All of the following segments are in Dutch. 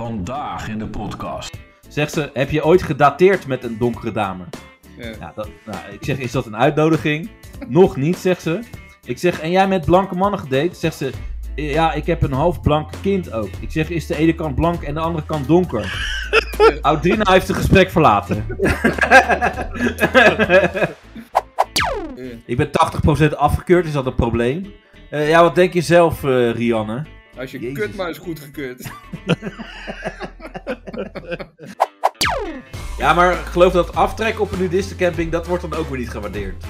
Vandaag in de podcast. Zegt ze, heb je ooit gedateerd met een donkere dame? Ja. Ja, dat, nou, ik zeg, is dat een uitnodiging? Nog niet, zegt ze. Ik zeg, en jij met blanke mannen gedate? Zegt ze, ja, ik heb een half blank kind ook. Ik zeg, is de ene kant blank en de andere kant donker? Oudrina heeft het gesprek verlaten. Mm. ik ben 80% afgekeurd, is dat een probleem? Eh, ja, wat denk je zelf, eh, Rianne? Als je Jezus. kut maar is goed gekut. Ja, maar geloof dat aftrek op een nudistencamping, dat wordt dan ook weer niet gewaardeerd.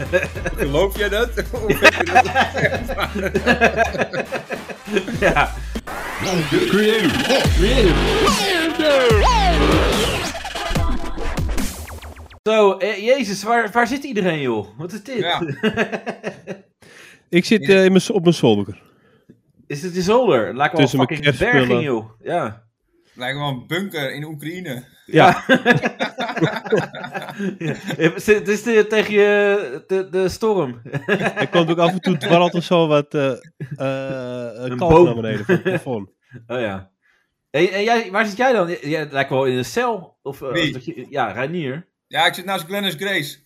Geloof jij dat? Of heb je dat? ja. Zo, eh, jezus, waar, waar zit iedereen, joh? Wat is dit? Ja. Ik zit eh, in mijn, s- op mijn zolder. Is dit de zolder? Laat wel een Tussen mijn fucking kerstspullen. berging, joh. Ja. Lijkt wel een bunker in Oekraïne. Ja. ja. Het is de- tegen je, de, de storm. Er komt ook af en toe dwarrelt er zo wat eh eh, Een kalk naar boom. beneden van het plafond. Oh ja. En, en jij, waar zit jij dan? Jij lijkt wel in een cel. Of, eh, Wie? dat je- ja, Reinier. Ja, ik zit naast Glennis Grace.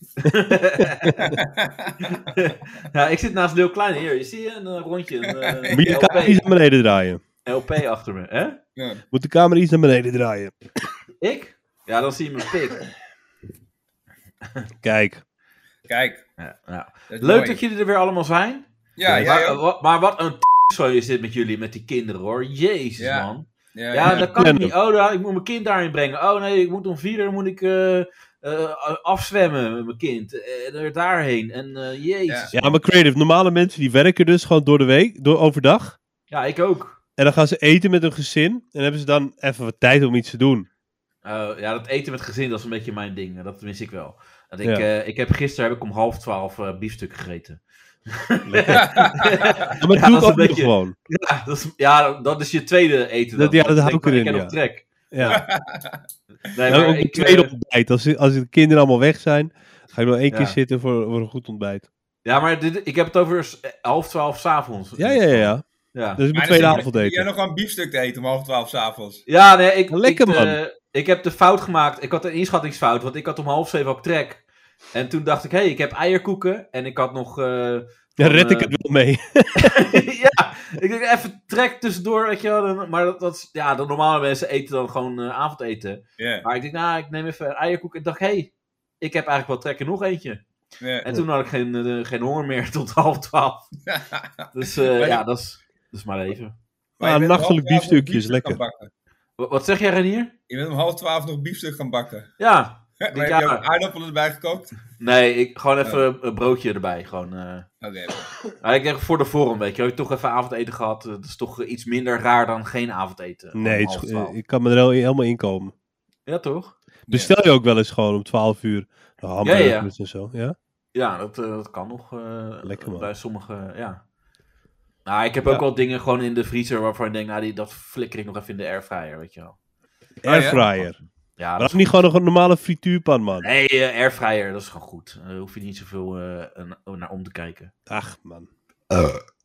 ja, ik zit naast Leo Kleine. Hier, je ziet een eh, rondje. Een, eh, Moet je de camera iets LP, naar beneden draaien? LP achter me, hè? Ja. Moet de camera iets naar beneden draaien? Ik? Ja, dan zie je mijn pik. Kijk, Kijk. Ja, ja. dat is Leuk mooi. dat jullie er weer allemaal zijn. Ja, maar, ja, wa- maar wat een zo is dit met jullie, met die kinderen hoor. Jezus Ja. man. Ja, ja, ja. dat kan ik Ja. niet. Oh, daar- ik moet mijn kind daarin brengen. Oh nee, ik moet om vier uur moet ik eh, eh, afzwemmen met mijn kind. En er daarheen. En eh, jezus. Ja. ja, maar creative. Normale mensen die werken dus gewoon door de week, door overdag. ik ook. En dan gaan ze eten met hun gezin. En dan hebben ze dan even wat tijd om iets te doen. Eh, ja, dat eten met gezin, dat is een beetje mijn ding. Dat mis ik wel. Dat ik, Ja. eh, ik heb gisteren heb ik om half twaalf eh, biefstuk gegeten. Ja, maar Ja, dat dat doe ik is ook een nog beetje- gewoon. Ah. Ja, dat is, ja, dat is je tweede eten. Dat- dan. ja, dat Ik hou ik maar, erin, heb ja. Nou, nog trek. Ja. Nee, En maar ook een ik, eh, tweede ontbijt. Als, als de kinderen allemaal weg zijn, ga ik nog één Ja. keer zitten voor, voor een goed ontbijt. ja, maar dit, ik heb het over s- eh, half twaalf s'avonds. Ja, ja, ja. ja. ja. Dat is Maar dan mijn dus tweede zit- zit Jij avondeten. dus- nog aan biefstuk te eten om half twaalf s'avonds. Ja, nee, ik, Lekker, ik, man. eh, ik heb de fout gemaakt. Ik had een inschattingsfout, want ik had om half zeven ook trek. En toen dacht ik, hé, hey, ik heb eierkoeken en ik had nog... eh, Daar red ik eh, het wel mee. ja, ik denk even trek tussendoor, weet je wel. dan- Maar dat, dat is- ja, de normale mensen eten dan gewoon eh, avondeten. Ja. Maar ik denk, nou, ik neem even een eierkoek. En ik dacht, hé, hey, ik heb eigenlijk wel trek en nog eentje. ja. En toen had ik geen, eh, geen honger meer tot half twaalf. Dus eh, Maar- ja, dat is, dat is maar even. Maar je Ah, bent om half nachtelijk twaalf nog biefstukje is biefstuk gaan lekker. bakken. Wa- Wat zeg jij, Renier? Je bent om half twaalf nog biefstuk gaan bakken. Ja. Maar Ik heb denk, je ook ja. aardappelen erbij gekookt? Nee, ik, gewoon even een broodje erbij. Gewoon, eh. Oké. Maar Ah, ik denk voor de vorm, weet je. wel, Ik heb toch even avondeten gehad. eh, Dat is toch eh, iets minder raar dan geen avondeten. om Nee, het is half go- twaalf. ik kan me er heel- helemaal in komen. Ja, toch? Bestel je ook wel eens gewoon om 12 uur de hamburgers Ja, ja. en zo, ja? Ja, dat, eh, dat kan nog. eh, Lekker, man. Bij sommige, ja. Nou, ik heb ook Ja. wel dingen gewoon in de vriezer waarvan ik denk, nou, die, dat flikker ik nog even in de airfryer, weet je wel. Airfryer. Ja, dat Waarom niet gewoon nog een normale frituurpan, man? Nee, eh, airfryer, dat is gewoon goed. Daar hoef je niet zoveel eh, een- naar om te kijken. Ach, man.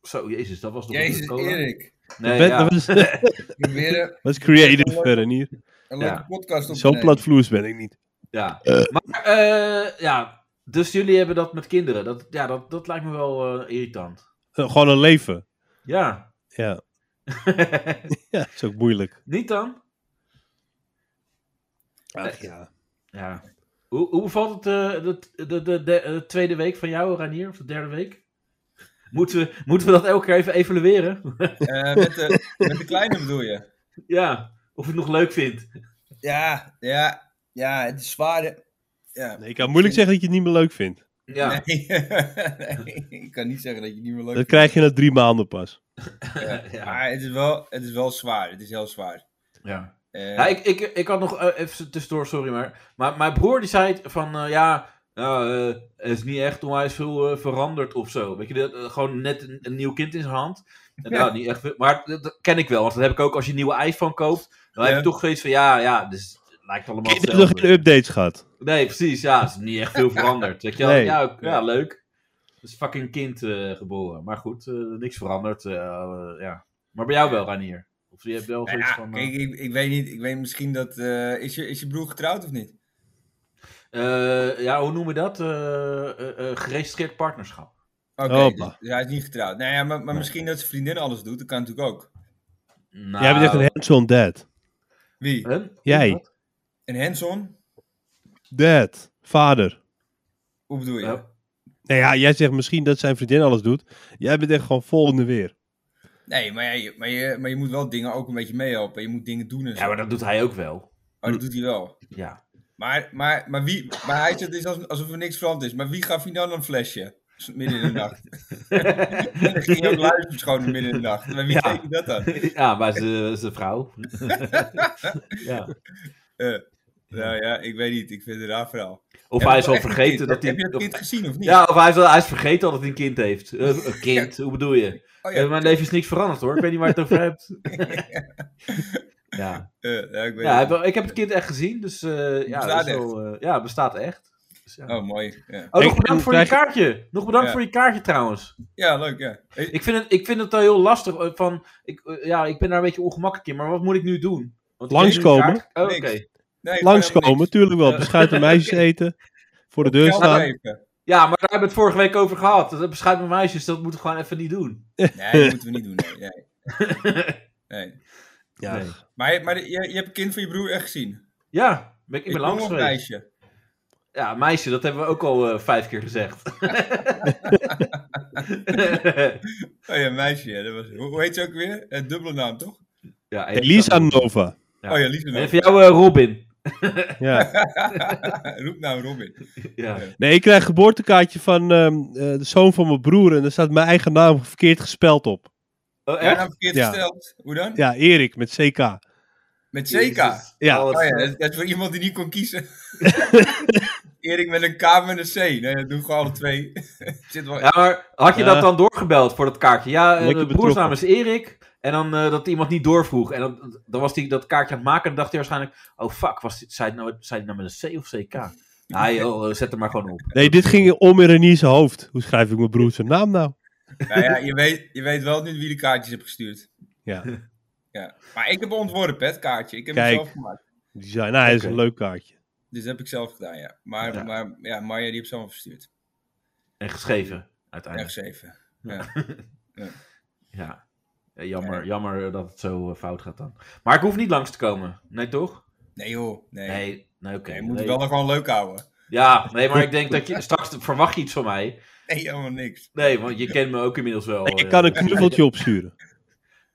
Zo, jezus, dat was nog een Jezus, cola. Erik. Nee, Ben- ja. dat was, dat Probeer een- was creative verder niet. een Ja. leuke podcast op te Zo nemen. platvloers ben ik niet. ja. Maar, eh, ja, dus jullie hebben dat met kinderen. Dat, ja, dat, dat lijkt me wel eh, irritant. Eh, Gewoon een leven. Ja. Ja. ja, is ook moeilijk. niet dan? Ach, ja. Ja. Hoe, hoe bevalt het eh, de, de, de, de- de tweede week van jou, Ranier? Of de derde week? Moeten we, moeten we dat elke keer even evalueren? Eh, met, de, met de kleine bedoel je? ja, of je het nog leuk vindt. Ja, ja, ja, het is zwaar. hè. Ja. Nee, ik kan moeilijk zeggen dat je het niet meer leuk vindt. Ja. Nee. Nee, ik kan niet zeggen dat je het niet meer leuk Dat krijg je na drie maanden pas. vindt. Ja. Maar het is, wel, het is wel zwaar. Het is heel zwaar. ja. Eh, Ja, ik, ik, ik had nog eh, even tussendoor, sorry maar. Maar mijn broer die zei het van eh, ja, nou, eh, er is niet echt onwijs veel eh, veranderd of zo. Weet je, dat, eh, gewoon net een, een nieuw kind in zijn hand. En, nou, niet echt veel, maar dat, dat ken ik wel, want dat heb ik ook als je een nieuwe iPhone koopt. Dan heb Ja. je toch zoiets van ja, ja, dus het lijkt allemaal Ik heb nog hetzelfde. geen updates gehad. Nee, precies, ja, er is niet echt veel veranderd. Weet je, wel? Nee. ja, ook- ja, leuk. Er is fucking kind eh, geboren. Maar goed, eh, niks veranderd. eh, eh, ja. Maar bij jou wel, Ranier. Of je hebt wel Nou zoiets ja, van... eh, kijk, ik, ik weet niet. Ik weet misschien dat. eh, is, je, is je broer getrouwd of niet? eh, ja, hoe noemen we dat? Eh, eh, eh, geregistreerd partnerschap. Oké, Hoppa. dus- dus hij is niet getrouwd. Nou ja, maar, maar misschien dat zijn vriendin alles doet. Dat kan natuurlijk ook. Nou, Jij bent echt een hands-on dad. Wie? Huh? Jij. Wat? Een Henson? Dad. Vader. Hoe bedoel je? Ja. Nou ja, jij zegt misschien dat zijn vriendin alles doet. Jij bent echt gewoon volgende weer. Nee, maar, ja, je, maar, je, maar je moet wel dingen ook een beetje meehelpen. Je moet dingen doen en zo. Ja, maar dat doet hij ook wel. Oh, dat doet hij wel. Ja. Maar, maar, maar, wie, maar hij zegt dus als- alsof er niks veranderd is. Maar wie gaf je dan een flesje? S- Midden in de nacht. En dan ging je ook luisteren schoon midden in de nacht. Maar wie Ja. deed dat dan? ja, maar ze is een vrouw. ja. Nou ja, ik weet niet. Ik vind het een raar verhaal. Of Heb hij je is al echt een vergeten kind? dat hij... Heb je dat of- kind gezien of niet? ja, of hij is, al- hij is vergeten dat hij een kind heeft. Eh, een kind, hoe bedoel je? Oh ja, Eh, mijn leven is niks veranderd hoor, ik weet niet waar je het over hebt. ja. eh, ja, ik weet Ja, hij het. heeft wel- ik heb het kind echt gezien, dus eh, ja, dat Bestaat is wel, eh, ja, het bestaat echt. Dus, ja. Oh, mooi. Ja, Oh, nog Ik- bedankt voor je krijg- kaartje. Nog bedankt Ja. voor je kaartje trouwens. ja leuk, ja. Eh, Ik vind het, ik vind het wel heel lastig. eh, Van, ik, eh, ja, ik ben daar een beetje ongemakkelijk in, maar wat moet ik nu doen? Want ik Langskomen. weet niet of ik kaart- Oh, Oké. Niks. Nee, Langskomen, tuurlijk wel. Ja. Beschuiten meisjes eten. Voor de deur gewoon helemaal staan. niks. Geld Ja, maar daar hebben we het vorige week over gehad. Dat beschrijft mijn meisjes, dat moeten we gewoon even niet doen. geven. Nee, dat moeten we niet doen. Nee, nee. nee. Ja. Nee. Maar, maar je, je hebt een kind van je broer echt gezien? Ja, ben ik, ik ben Een jongen langs of een geweest. meisje? Ja, meisje, dat hebben we ook al eh, vijf keer gezegd. Oh ja, een meisje. Ja, dat was, hoe, hoe heet ze ook weer? Eh, dubbele naam, toch? ja, even- Elisa Nova. Ja. Oh ja, lieve En naam. voor jou eh, Robin. Ja. Roepnaam nou Robin. Ja. Nee, ik krijg een geboortekaartje van ehm, eh, de zoon van mijn broer. En daar staat mijn eigen naam verkeerd gespeld op. Oh, Ja, echt? naam nou verkeerd Ja. gesteld. Hoe dan? Ja, Erik met CK. Met CK. Ja. Oh, wat Oh ja, slecht. dat, dat is voor iemand die niet kon kiezen. Erik met een K met een C. Nee, dat doen gewoon alle twee. Zit wel... Ja, maar had je Ja. dat dan doorgebeld voor dat kaartje? Ja, eh, Lekker de broersnaam is Eh. betrokken. Erik. En dan eh, dat iemand niet doorvroeg. En dan, dan was hij dat kaartje aan het maken. En dacht hij waarschijnlijk: Oh fuck, was dit, zei, het nou, zei het nou met een C of CK? Nou, joh, eh, zet hem maar gewoon op. Nee, dit ging om in Renier's hoofd. Hoe schrijf ik mijn broer zijn naam nou? Nou ja, je weet, je weet wel nu wie de kaartjes heb gestuurd. Ja. Ja. Maar ik heb ontworpen, hè, het kaartje. Ik heb Kijk. het zelf gemaakt. Die zei, nou, hij is een Oké. leuk kaartje. Dus dat heb ik zelf gedaan, ja. Maar Ja. ja, maar, ja Marja, die heb ze allemaal verstuurd. En geschreven, Erg uiteindelijk. zeven. Ja. Ja, Jammer, jammer dat het zo eh, fout gaat dan. Maar ik hoef niet langs te komen. Nee, toch? Nee joh, nee. Nee, Nee, nee oké. je moet Nee. het wel nog gewoon leuk houden. Ja, nee, maar ik denk dat je straks verwacht je iets van mij. Nee, helemaal niks. Nee, want je kent me ook inmiddels wel. Ik eh. kan een knuffeltje opsturen.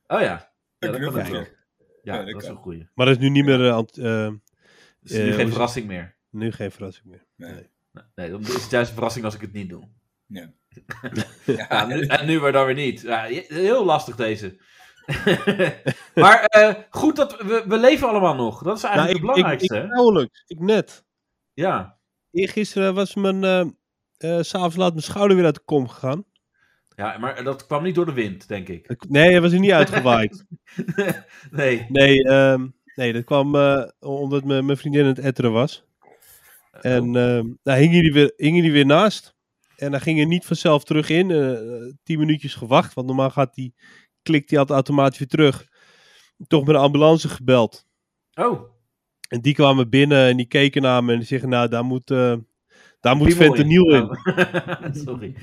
Oh ja. Ja, dat Een kan ook knuffeltje. wel. Ja, Ja, dat dat is kan. een goeie. Maar dat is nu niet meer... eh, ant- eh, Dus nu Eh, hoe geen is- verrassing meer. nu geen verrassing meer. Nee, dan is het juist een verrassing als ik het niet doe. Ja, Ja, nu, en nu maar dan weer niet. Ja, je- heel lastig deze. maar eh, goed dat we, we leven allemaal nog. Dat is Nou, eigenlijk ik, het ik, ik, belangrijkste. hè? nauwelijks. Ik net. ja. Eergisteren was mijn... eh eh, S'avonds laat mijn schouder weer uit de kom gegaan. ja, maar dat kwam niet door de wind, denk ik. Ik- Nee, hij was er niet uitgewaaid. nee. Nee, ehm, nee dat kwam eh, omdat mijn mijn vriendin aan het etteren was. Oh. En ehm, daar hingen die, weer, hingen die weer naast. En daar ging hij niet vanzelf terug in. Eh, tien minuutjes gewacht, want normaal gaat die, klikt die altijd automatisch weer terug. Toch met de ambulance gebeld. Oh, En die kwamen binnen en die keken naar me en die zeggen, nou, daar moet, eh daar moet piemel fentanyl in. Oh. Sorry.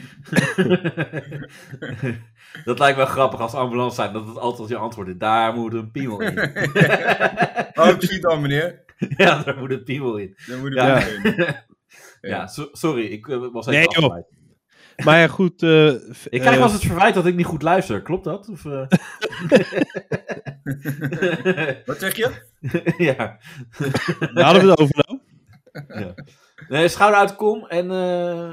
dat lijkt wel grappig als ambulance zijn, dat het altijd je antwoord is. Daar moet een piemel in. Oh, ik zie het al, meneer. ja, daar moet een piemel in. Dan moet ik Ja. weer doen. Ja, so- sorry, ik eh, was even Nee, joh. afgeleid. Maar ja, goed. eh, v- Oh. Ik krijg eh, wel eens het verwijt dat ik niet goed luister, klopt dat? Of, eh? Wat zeg je? ja. daar hadden we het over nou. Nee, schouder uit de kom en, eh,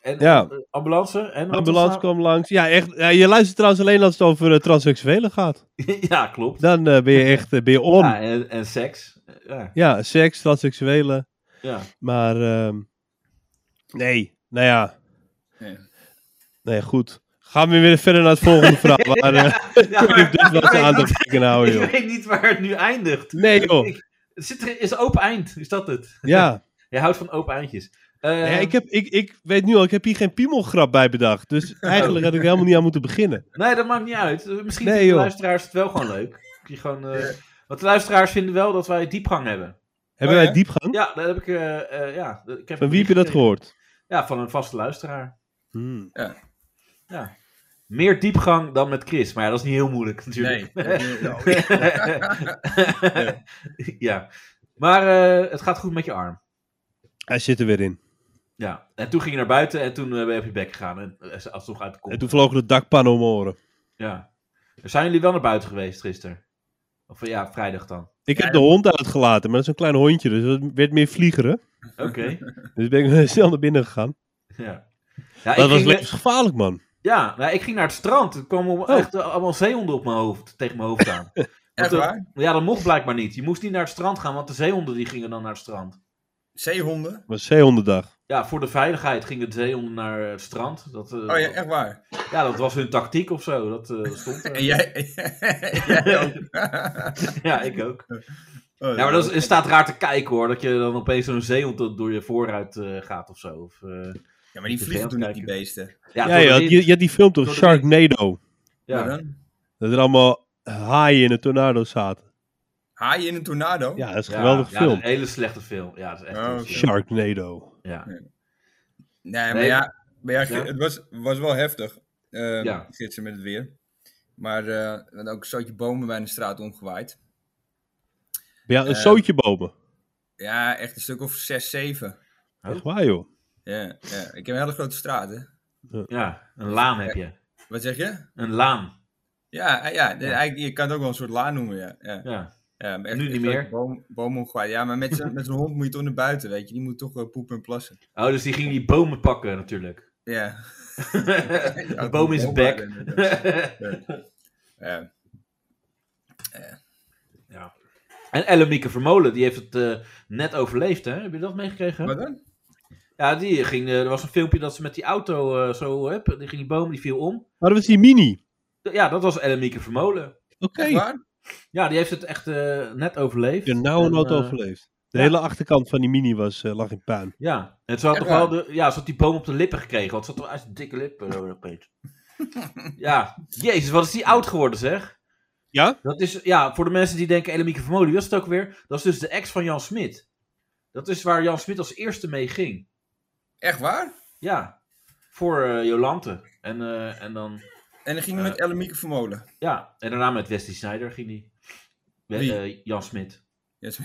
en Ja. eh, ambulance. En De ambulance wat nou? was kwam langs. Ja, echt. Ja, je luistert trouwens alleen als het over eh, transseksuelen gaat. nou? ja, klopt. Dan eh, ben je echt eh, ben je on. Ja, Ja. en, en seks. Ja, seks, transseksuelen. ja. Maar ehm, nee, nou ja. Nee. Nee, goed. Gaan we weer verder naar het volgende verhaal. Waar eh, Ja, maar- ik dus wel ik zijn aandacht weet- tegen houden, Ik joh. weet niet waar het nu eindigt. Nee, joh. Ik- Het zit er, is open eind, is dat het? Ja. Jij houdt van open eindjes. Eh, Ja, ik, heb, ik, ik weet nu al, ik heb hier geen piemelgrap bij bedacht. Dus eigenlijk had ik er helemaal niet aan moeten beginnen. Nee, dat maakt niet uit. Eh, Misschien Nee, vinden de joh. luisteraars het wel gewoon leuk. je gewoon... eh, Want de luisteraars vinden wel dat wij diepgang hebben. Hebben Oh, wij ja? diepgang? Ja, dat heb ik... eh, eh, ja, ik heb Van wie heb je dat gehoord? Ja, van een vaste luisteraar. Hmm. Ja. Meer diepgang dan met Chris. Maar ja, dat is niet heel moeilijk natuurlijk. ja. Maar eh, het gaat goed met je arm. Hij zit er weer in. Ja. En toen ging je naar buiten en toen eh, ben je op je bek gegaan. En eh, ze alsnog uit de kop. En toen vlogen de dakpannen om mijn oren. Ja. Zijn jullie wel naar buiten geweest gisteren? Of eh, ja, vrijdag dan. Ik heb de hond uitgelaten, maar dat is een klein hondje, dus het werd meer vliegeren. Oké. Dus ben ik snel naar binnen gegaan. Ja. Ja, ik dat was ging, levensgevaarlijk, man. ja nou, ik ging naar het strand. Er kwamen Oh. echt eh, allemaal zeehonden op mijn hoofd, tegen mijn hoofd aan. Echt Want, eh, waar? Ja, dat mocht blijkbaar niet. Je moest niet naar het strand gaan, want de zeehonden die gingen dan naar het strand. Zeehonden? Het was zeehondendag. Ja, voor de veiligheid gingen de zeehonden naar het strand. Dat, eh, Oh ja, echt waar. ja, dat was hun tactiek of zo. Dat eh, stond er. En jij, jij ook. ja, ik ook. Oh, Ja, maar dat is, het staat raar te kijken hoor. Dat je dan opeens zo'n zeehond dat door je vooruit eh, gaat of zo. Of, eh, Ja, maar die vliegen toen niet, die beesten. ja, Ja, door je, de had, wind. je, je had die film toch, Door de Sharknado. Ja. ja. dan? Dat er allemaal haaien in een tornado zaten. Haaien in een tornado? Ja, dat is een Ja, geweldig ja, dat is film. een hele slechte film. Ja, dat is echt Oh, een oké. film. Sharknado. Ja. Nee, maar Nee. ja, maar ja, Ja. het was, was wel heftig. eh, Ja. Gisteren met het weer. Maar eh, er werden ook een zootje bomen bij de straat omgewaaid. Ja, een Eh. zootje bomen. Ja, echt een stuk of zes, zeven. Echt waar, joh. Ja, ja. Ik heb een hele grote straat, hè. ja, een laan heb je. Wat zeg je? Een laan. Ja, eh, ja, nee, eigenlijk, je kan het ook wel een soort laan noemen, ja. ja. Ja. ja maar Nu echt niet een meer. grote Boom, boom omgewaaid. Ja, maar met zo'n met zo'n hond moet je toch naar buiten, weet je. Die moet toch eh, poepen en plassen. Oh, dus die ging die bomen pakken natuurlijk. Ja. een boom is back. Ja. ja. En Ellemieke Vermolen, die heeft het eh, net overleefd, hè? Heb je dat meegekregen? Wat dan? Ja, die ging, eh, er was een filmpje dat ze met die auto eh, zo, hup, die ging die boom, die viel om. Maar dat was die mini. Ja, dat was Ellemieke Vermolen. Oké. Echt waar? Ja, die heeft het echt eh, net overleefd. Je nou een En, auto eh, overleefd. De ja. hele achterkant van die mini was, eh, lag in puin. Ja, en ze had Echt nog wel de, ja, ze had die boom op de lippen gekregen. Want ze had toch uit de dikke lippen. zo opeens. ja, jezus, wat is die oud geworden zeg. Ja? Dat is, ja, voor de mensen die denken, Elamieke Vermolen, wie was het ook weer? Dat is dus de ex van Jan Smit. Dat is waar Jan Smit als eerste mee ging. Echt waar? Ja, voor eh, Jolante. En, eh, en dan, En dan gingen we met Ellemieke Vermolen. ja, en daarna met Wesley Snyder ging die. We- Wie? eh, Jan Smit. Yes.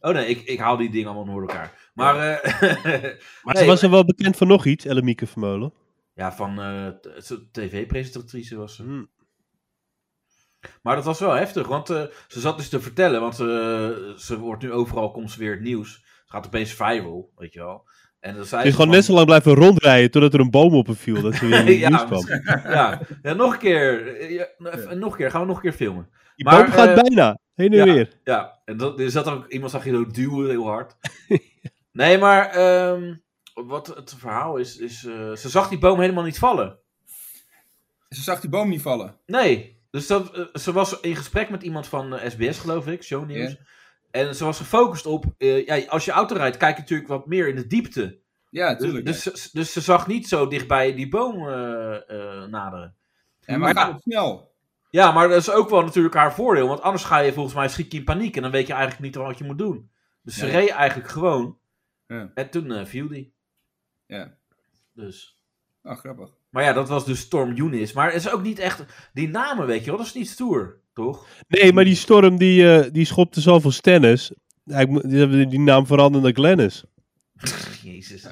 Oh nee, ik, ik haal die dingen allemaal door elkaar. Maar, eh, Maar Nee, ze was er wel bekend van nog iets, Ellemieke Vermeulen. ja, van eh, t- t- tv-presentatrice was ze. Hmm. Maar dat was wel heftig, want eh, ze zat dus te vertellen, want eh, ze wordt nu overal, komt ze weer het nieuws. Ze gaat opeens viral, weet je wel. En dan zei Ze is ze gewoon van- net zo lang blijven rondrijden totdat er een boom op haar viel. Dat ze weer in het Ja, nieuws kwam. ja. ja, nog een keer. Eh, ja, even- nog een keer, gaan we nog een keer filmen. Die Maar, boom gaat eh, bijna. Heen en ja. weer. Ja, en dat, er zat ook iemand, zag je zo duwen heel hard. Nee, maar ehm, wat het verhaal is, is eh, ze zag die boom helemaal niet vallen. Ze zag die boom niet vallen. Nee. Dus dat, eh, ze was in gesprek met iemand van eh, SBS, geloof ik, shownieuws. En ze was gefocust op. eh, ja, als je auto rijdt, kijk je natuurlijk wat meer in de diepte. Ja, Dus, tuurlijk. dus, ze- dus ze zag niet zo dichtbij die boom eh, eh, naderen. en maar maar- gaat het snel. Ja, maar dat is ook wel natuurlijk haar voordeel. Want anders ga je volgens mij schiet je in paniek. En dan weet je eigenlijk niet wat je moet doen. Dus ze Nee. reed eigenlijk gewoon. Ja. En toen eh, viel die. Ja. Dus. Oh, grappig. Maar ja, dat was dus Storm Yunis. Maar het is ook niet echt. Die namen, weet je wel, dat is niet stoer, toch? Nee, maar die storm die, eh, die schopte zoveel Stennis. Hij mo- Die hebben die naam veranderd naar Glennis. Jezus.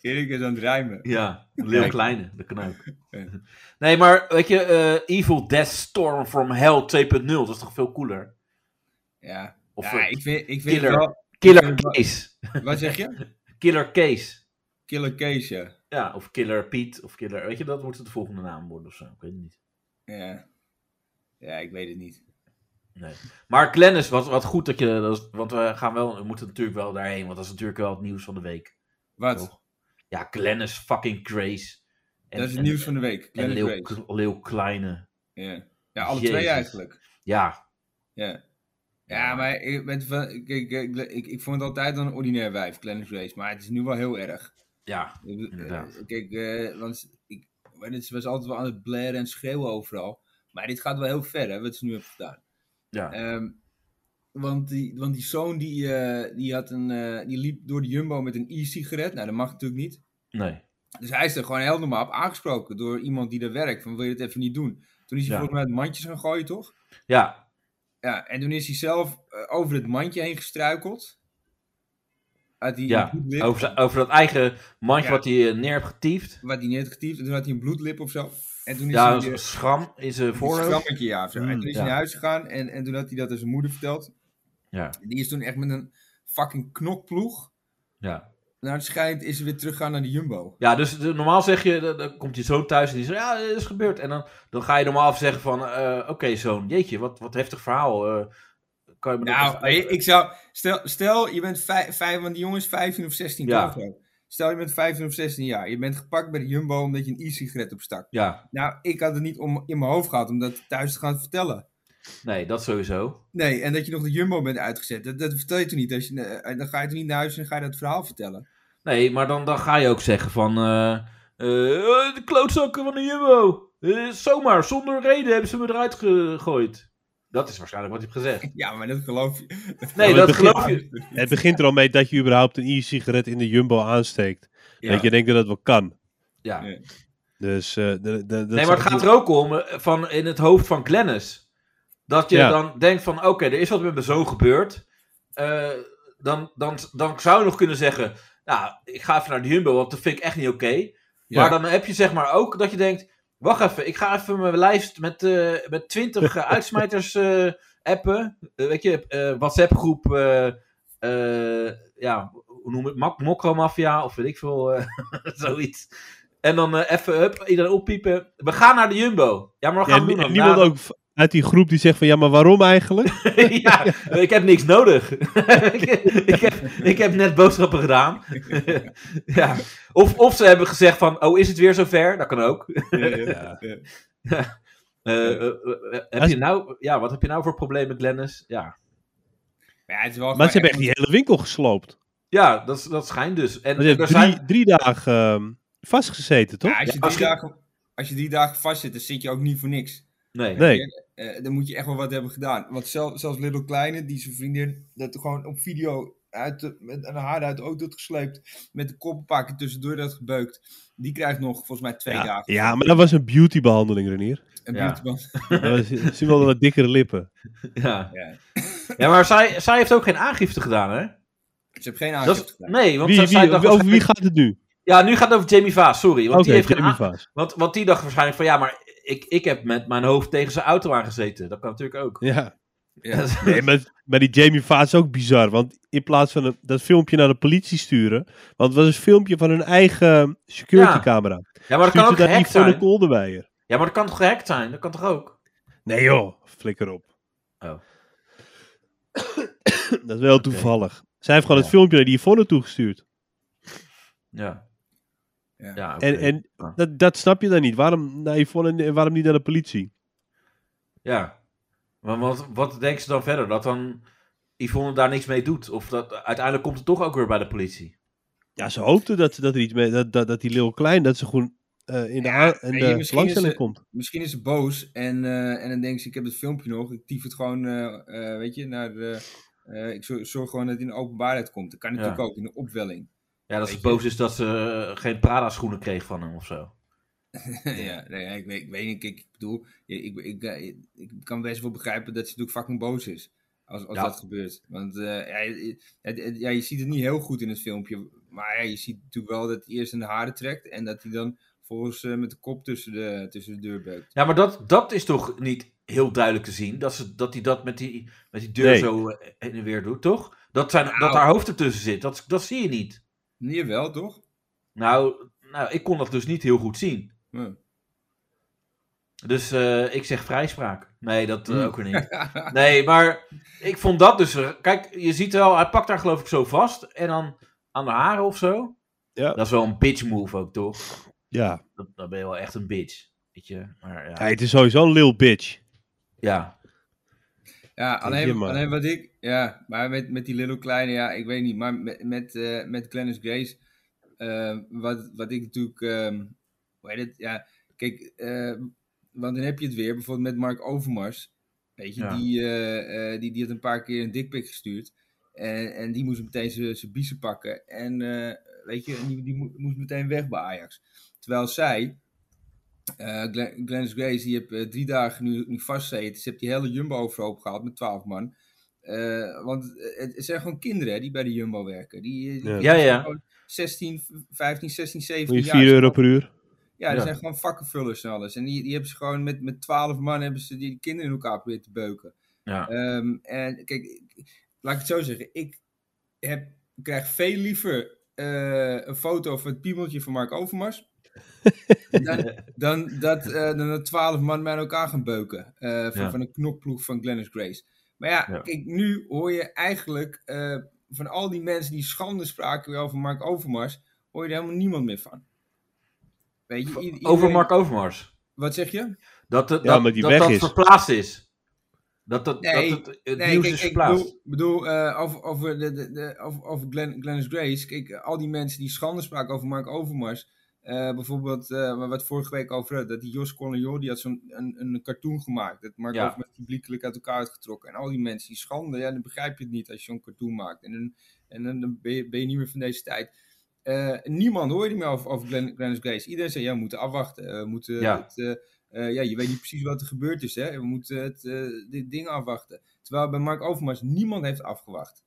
Erik is aan het rijmen. Ja, Leeuw Kijk. Kleine, dat kan ook. Ja. Nee, maar weet je, eh, Evil Death Storm from Hell 2.0, dat is toch veel cooler? Ja. Of ja, eh, ik vind, ik vind het killer. wel... Killer Case. Wat zeg je? Killer Case. Killer Case, ja. Ja, of Killer Piet, of Killer... Weet je, dat moet het de volgende naam worden of zo, ik weet het niet. Ja. Ja, ik weet het niet. Nee. Maar Glennis, wat, wat goed dat je... Dat is- want we, gaan wel, we moeten natuurlijk wel daarheen, want dat is natuurlijk wel het nieuws van de week. Wat? Toch? Ja, Glennis fucking Grace. En- dat is het en- nieuws van de week. En Glenn Leeuw, Grace. Leeuw Kleine. Ja. ja, alle Jezus. twee eigenlijk. Ja, Ja. Ja, maar ik, met, ik, ik, ik, ik, ik vond het altijd een ordinair wijf, Glenn Grace. Maar het is nu wel heel erg. ja, Ik bedoel, eh, Inderdaad. Kijk, eh, want ik, weet het, ze was altijd wel aan het blaren en schreeuwen overal. Maar dit gaat wel heel ver, hè, wat ze nu hebben gedaan. Ja. Ehm, want, die, want die zoon die, eh, die, had een, eh, die liep door de Jumbo met een e-sigaret. Nou, dat mag natuurlijk niet. Nee. Dus hij is er gewoon heel normaal op aangesproken door iemand die daar werkt. Van wil je dat even niet doen? Toen is hij Ja. volgens mij het mandje gaan gooien, toch? Ja. Ja, en toen is hij zelf eh, over het mandje heen gestruikeld. Uit die Ja, bloedlip, Over, zijn- over dat eigen mandje Ja. wat hij eh, neer heeft getiefd. wat hij net getiefd. En toen had hij een bloedlip of zo. En toen is Ja, hij... een eh, schram in zijn een voorhoofd. schrammetje, ja. of zo. en toen is hij ja. naar huis gegaan en, en toen had hij dat aan zijn moeder verteld. Ja, Die is toen echt met een fucking knokploeg. ja. Naar het schijnt is ze weer teruggegaan naar de Jumbo. ja dus de- normaal zeg je, dan, dan komt je zoon thuis en die zegt, ja, dit is gebeurd. En dan, dan ga je normaal zeggen van, eh, oké zoon, jeetje, wat, wat heftig verhaal. eh, kan je me dat Nou, even- nee, ik zou... Stel, stel je bent vijf, vijf, want die jongen is 15 of 16 Ja. toch? of zo. Stel je bent 15 of 16 jaar. Je bent gepakt bij de Jumbo omdat je een e-sigaret opstak. Ja, Nou, ik had het niet om, in mijn hoofd gehad om dat thuis te gaan vertellen. nee, dat sowieso. Nee, en dat je nog de Jumbo bent uitgezet. Dat, dat vertel je toen niet. Als je, eh, dan ga je toen niet naar huis en ga je dat verhaal vertellen. Nee, maar dan, dan ga je ook zeggen van, eh, eh, de klootzakken van de Jumbo. Eh, zomaar, zonder reden hebben ze me eruit gegooid. Dat is waarschijnlijk wat je hebt gezegd. Ja, maar dat geloof je. Nee, Nou, Ja, maar dat het begint- geloof je. Het begint er al mee dat je überhaupt een e-sigaret in de Jumbo aansteekt. Ja. Dat je denkt dat dat wel kan. Ja. Nee. Dus, eh, d- d- dat nee, zou maar het ik gaat niet- er ook om eh, van in het hoofd van Glennis. Dat je Ja. dan denkt van, oké, er is wat met mijn zoon gebeurd. Eh, dan, dan, dan zou je nog kunnen zeggen, nou, ik ga even naar de Jumbo, want dat vind ik echt niet oké. Ja. Maar dan heb je zeg maar ook dat je denkt, wacht even, ik ga even mijn lijst met, eh met 20 eh, uitsmijters eh, appen. Eh, weet je, eh, WhatsApp groep, eh, eh, ja, hoe noem het, Mak- mokromafia of weet ik veel, eh, zoiets. En dan eh, even, hup, iedereen oppiepen. We gaan naar de Jumbo. Ja, maar we Ja, gaan en doen en dan. niemand Nou, ook v- uit die groep die zegt van ja, maar waarom eigenlijk? ja, ik heb niks nodig. ik, ik heb, ik heb net boodschappen gedaan. ja. of, of ze hebben gezegd van, oh, is het weer zover? Dat kan ook. Ja, ja, ja. Eh, eh, eh, eh, heb Als- je nou, ja, wat heb je nou voor problemen, Glennis? Ja, Maar ja, het is wel Maar gewoon ze hebben echt die hele winkel gesloopt. ja dat, is- dat schijnt dus. En, Ze er hebben zijn, drie, drie dagen ehm, vastgezeten, toch? Ja, als, je Ja, drie als je- Dagen, als je drie dagen vastzit, dan zit je ook niet voor niks. nee. nee. Eh, dan moet je echt wel wat hebben gedaan. Want zelf, zelfs Little Kleine, die zijn vriendin, dat gewoon op video uit de, met een haar uit de auto had gesleept. Met de koppenpakken tussendoor dat gebeukt. Die krijgt nog volgens mij twee Ja, dagen. ja, maar dat was een beautybehandeling, Renier. Een Ja. beautyband. Dat was, zien wel wat dikkere lippen. Ja. Ja. ja, maar zij, zij heeft ook geen aangifte gedaan, hè? Ze hebben geen Dat aangifte is- gedaan. nee, want Wie, zij- wie, zij dacht over wie waarschijnlijk- gaat het nu? Ja, nu gaat het over Jamie Vaas, sorry. Want, Oké, die heeft geen Jamie aan- Vaas. want, want die dacht waarschijnlijk van, ja, maar ik, ik heb met mijn hoofd tegen zijn auto aangezeten. Dat kan natuurlijk ook. Ja. Ja. Nee, maar, maar die Jamie Vaas is ook bizar. Want in plaats van een- dat filmpje naar de politie sturen... Want het was een filmpje van hun eigen securitycamera. Ja, maar dat kan ook gehackt zijn. Kolderweijer. Ja, maar dat kan toch gehackt zijn? Dat kan toch ook? Nee joh, flikker op. Oh. dat is wel toevallig. Zij heeft gewoon Ja. het filmpje naar die Yvonne toegestuurd. Ja. Ja. ja oké. En, en dat, dat snap je dan niet. Waarom naar Yvonne en waarom niet naar de politie? Ja. Maar wat, wat denken ze dan verder? Dat dan Yvonne daar niks mee doet? Of dat uiteindelijk komt het toch ook weer bij de politie? Ja, ze hoopte dat, dat, er iets mee, dat, dat, dat die Lil Klein, dat ze gewoon eh, in de, Ja, a- in weet de je, misschien belangstelling is, eh, komt. Misschien is ze boos en, eh, en dan denkt ze, ik heb het filmpje nog. Ik tief het gewoon, eh, eh, weet je, naar... eh, eh, ik zorg, zorg gewoon dat het in de openbaarheid komt. Dat kan natuurlijk ook in de opwelling. Ja, dat ze Weet je. boos is dat ze eh, geen Prada-schoenen kreeg van hem of zo. ja, nee, ja, ik, weet, ik weet niet. Ik, ik bedoel, ik, ik, ik, ik kan best wel begrijpen dat ze natuurlijk fucking boos is. Als, als Ja. dat gebeurt. Want eh, ja, het- het- het- ja, je ziet het niet heel goed in het filmpje. Maar ja, je ziet natuurlijk wel dat hij eerst in de haren trekt. En dat hij dan volgens eh, met de kop tussen de, tussen de deur beukt. Ja, maar dat, dat is toch niet heel duidelijk te zien? Dat hij dat, die dat met, die, met die deur Nee. zo eh, heen en weer doet, toch? Dat, zijn, dat Nou. haar hoofd ertussen zit, dat, dat zie je niet. Nee, wel toch? Nou, nou, ik kon dat dus niet heel goed zien. Hm. Dus eh, ik zeg vrijspraak. Nee, dat eh, Hmm. ook weer niet. Nee, maar ik vond dat dus. eh, Kijk, je ziet wel, hij pakt haar geloof ik zo vast. En dan aan de haren of zo. Ja. Dat is wel een bitch move ook, toch? Ja. Dat- Dan ben je wel echt een bitch. Weet je? Maar ja. ja, het is sowieso een Lil Bitch. ja. Ja, je alleen, maar. alleen wat ik. Ja, maar met, met die Little Kleine, ja, ik weet niet. Maar met, met, eh, met Glennis Grace, eh, wat, wat ik natuurlijk. ehm, hoe heet het? Ja, kijk, eh, want dan heb je het weer, bijvoorbeeld met Mark Overmars. Weet je, Ja. die, eh, eh, die, die had een paar keer een dikpik gestuurd. En, en die moest meteen zijn- zijn biezen pakken. En eh, weet je, en die, die mo- moest meteen weg bij Ajax. Terwijl zij, eh Glenn- Glennis Grace, die heeft eh, drie dagen nu, nu vastzeten. Ze heeft die hele Jumbo overhoop gehaald met twaalf man. Eh, want het, het zijn gewoon kinderen hè, die bij de Jumbo werken. Die, eh, die- Ja. die Ja, zijn ja. gewoon 16, 15, 16, 17 Moet je jaar. 4 euro per uur. Ja, die Ja. zijn gewoon vakkenvullers en alles. En die, die hebben ze gewoon met, met 12 man hebben ze die kinderen in elkaar proberen te beuken. Ja. Ehm, en kijk, ik- laat ik het zo zeggen. Ik heb, krijg veel liever eh, een foto van het piemeltje van Mark Overmars. dan, dan, dat, eh, dan dat 12 man mij aan elkaar gaan beuken. eh, van, Ja. van een knokploeg van Glennis Grace. Maar ja, Ja. kijk, nu hoor je eigenlijk eh, van al die mensen die schande spraken weer over Mark Overmars. hoor je er helemaal niemand meer van. Weet je, i- iedereen- Over Mark Overmars. Wat zeg je? Dat het, Ja, dat, maar die dat, weg dat is. verplaatst is. Dat, dat, Nee, dat het, het Nee, nieuws kijk, is ik verplaatst. bedoel, bedoel eh, over, over, de, de, de- over, over Glenn, Glennis Grace. Kijk, eh, al die mensen die schande spraken over Mark Overmars. eh, bijvoorbeeld, eh, waar we het vorige week over hadden, dat die Jos Collignol, die had zo'n een, een cartoon gemaakt. Dat Mark Ja. Overmars publiekelijk uit elkaar had getrokken. En al die mensen die schande, ja, dan begrijp je het niet als je zo'n cartoon maakt. En, dan- en dan- dan ben je, ben je niet meer van deze tijd. Eh, niemand hoorde meer over, over Glenn, Glennis Grace. Iedereen zei, ja, we moeten afwachten. eh, we moeten Ja. het, eh, eh, ja, je weet niet precies wat er gebeurd is. Hè? We moeten het, eh, dit ding afwachten. Terwijl bij Mark Overmars niemand heeft afgewacht.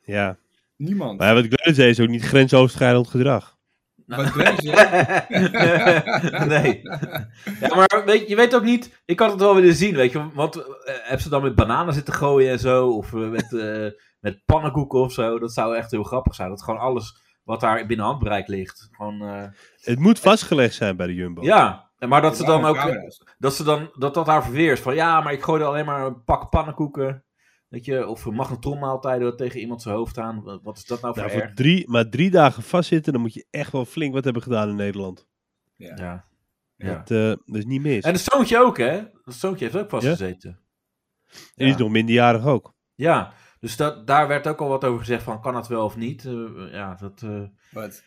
Ja. Niemand. Maar ja, wat Glenn zei is ook niet grensoverschrijdend gedrag. Wat Grace, hè? nee. Ja, maar weet, je weet ook niet. Ik had het wel willen zien, weet je. Want eh, hebben ze dan met bananen zitten gooien en zo? Of eh, met, eh, met pannenkoeken of zo? Dat zou echt heel grappig zijn. Dat gewoon alles wat daar binnen handbereik ligt. Gewoon, eh, Het moet vastgelegd zijn bij de Jumbo. ja. En Maar dat ze dan Ja, ook. camera's. Dat ze dan. Dat dat haar verweerst. Van ja, maar ik gooide alleen maar een pak pannenkoeken. Weet je. Of een magnetronmaaltijden tegen iemand zijn hoofd aan. Wat- Wat is dat nou voor Nou, erg? voor drie, maar drie dagen vastzitten, dan moet je echt wel flink wat hebben gedaan in Nederland. Ja. ja. Dat, eh, dat is niet En mis. En, het zoontje ook, hè? Dat zoontje heeft ook vastgezeten. die is nog minderjarig ook. Ja, dus dat, daar werd ook al wat over gezegd van kan dat wel of niet. Eh, ja, dat, eh, Wat?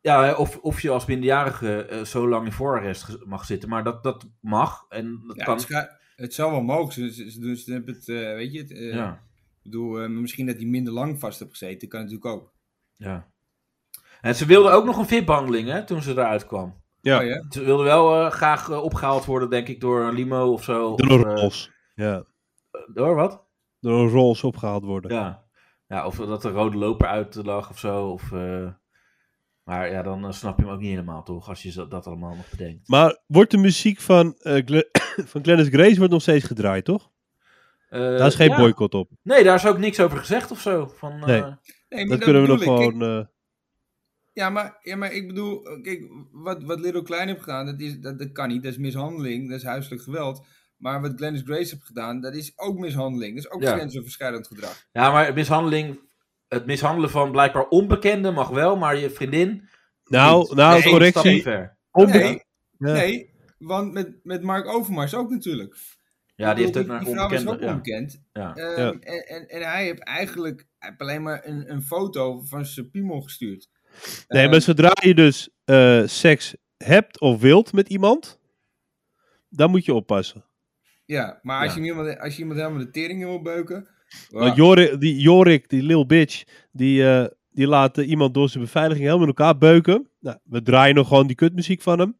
ja, hè, of, of je als minderjarige eh, zo lang in voorarrest ge- mag zitten, maar dat, dat mag en dat Ja, kan. het, scha- het zou wel mogelijk zijn. Ze- ze- Dus, hebben het, eh, weet je, het, eh, Ja, ik bedoel, eh, misschien dat hij minder lang vast heeft gezeten. Kan natuurlijk ook. ja. En ze wilde ook nog een VIP-handeling hè, toen ze eruit kwam. Ja. Oh, ja? Ze wilde wel eh, graag eh, opgehaald worden, denk ik, door een limo of zo. Door of, een eh, Rolls. Ja. door wat? Door een Rolls opgehaald worden. Ja. ja, of dat de rode loper uit lag of zo. Of, eh, maar ja, dan eh, snap je hem ook niet helemaal, toch? Als je zo- dat allemaal nog bedenkt. Maar wordt de muziek van, eh Gle- van Glennis Grace wordt nog steeds gedraaid, toch? Eh, Daar is geen ja. boycott op. Nee, daar is ook niks over gezegd of zo. Van, eh, Nee. Nee, maar Dat kunnen we nog bedoel ik. Kijk, gewoon... eh, Ja maar, ja, maar ik bedoel, eh, kijk, wat, wat Little Klein heeft gedaan, dat, is, dat, dat kan niet. Dat is mishandeling, dat is huiselijk geweld. Maar wat Glennis Grace heeft gedaan, dat is ook mishandeling. Dat is ook Ja. grensoverschrijdend gedrag. Ja, maar mishandeling, het mishandelen van blijkbaar onbekenden mag wel, maar je vriendin. nou, niet. nou, Eén stap te correctie. ver. Onbe- Nee, Ja. nee want met, met Mark Overmars ook natuurlijk. Ja, Ik die heeft bedoel, ook naar die vrouw is onbekenden. ook Ja. onbekend. Ja. Ehm, Ja. En, en, en hij heeft eigenlijk hij heeft alleen maar een, een foto van zijn piemel gestuurd. Nee, Eh, Ehm, maar zodra je dus eh, seks hebt of wilt met iemand, dan moet je oppassen. Ja, maar als, Ja. Je iemand, als je iemand helemaal de tering in wil beuken... Want wauw. Jorik, die, Jorik, die lil bitch, die, eh, die laat eh, iemand door zijn beveiliging helemaal in elkaar beuken. Nou, we draaien nog gewoon die kutmuziek van hem.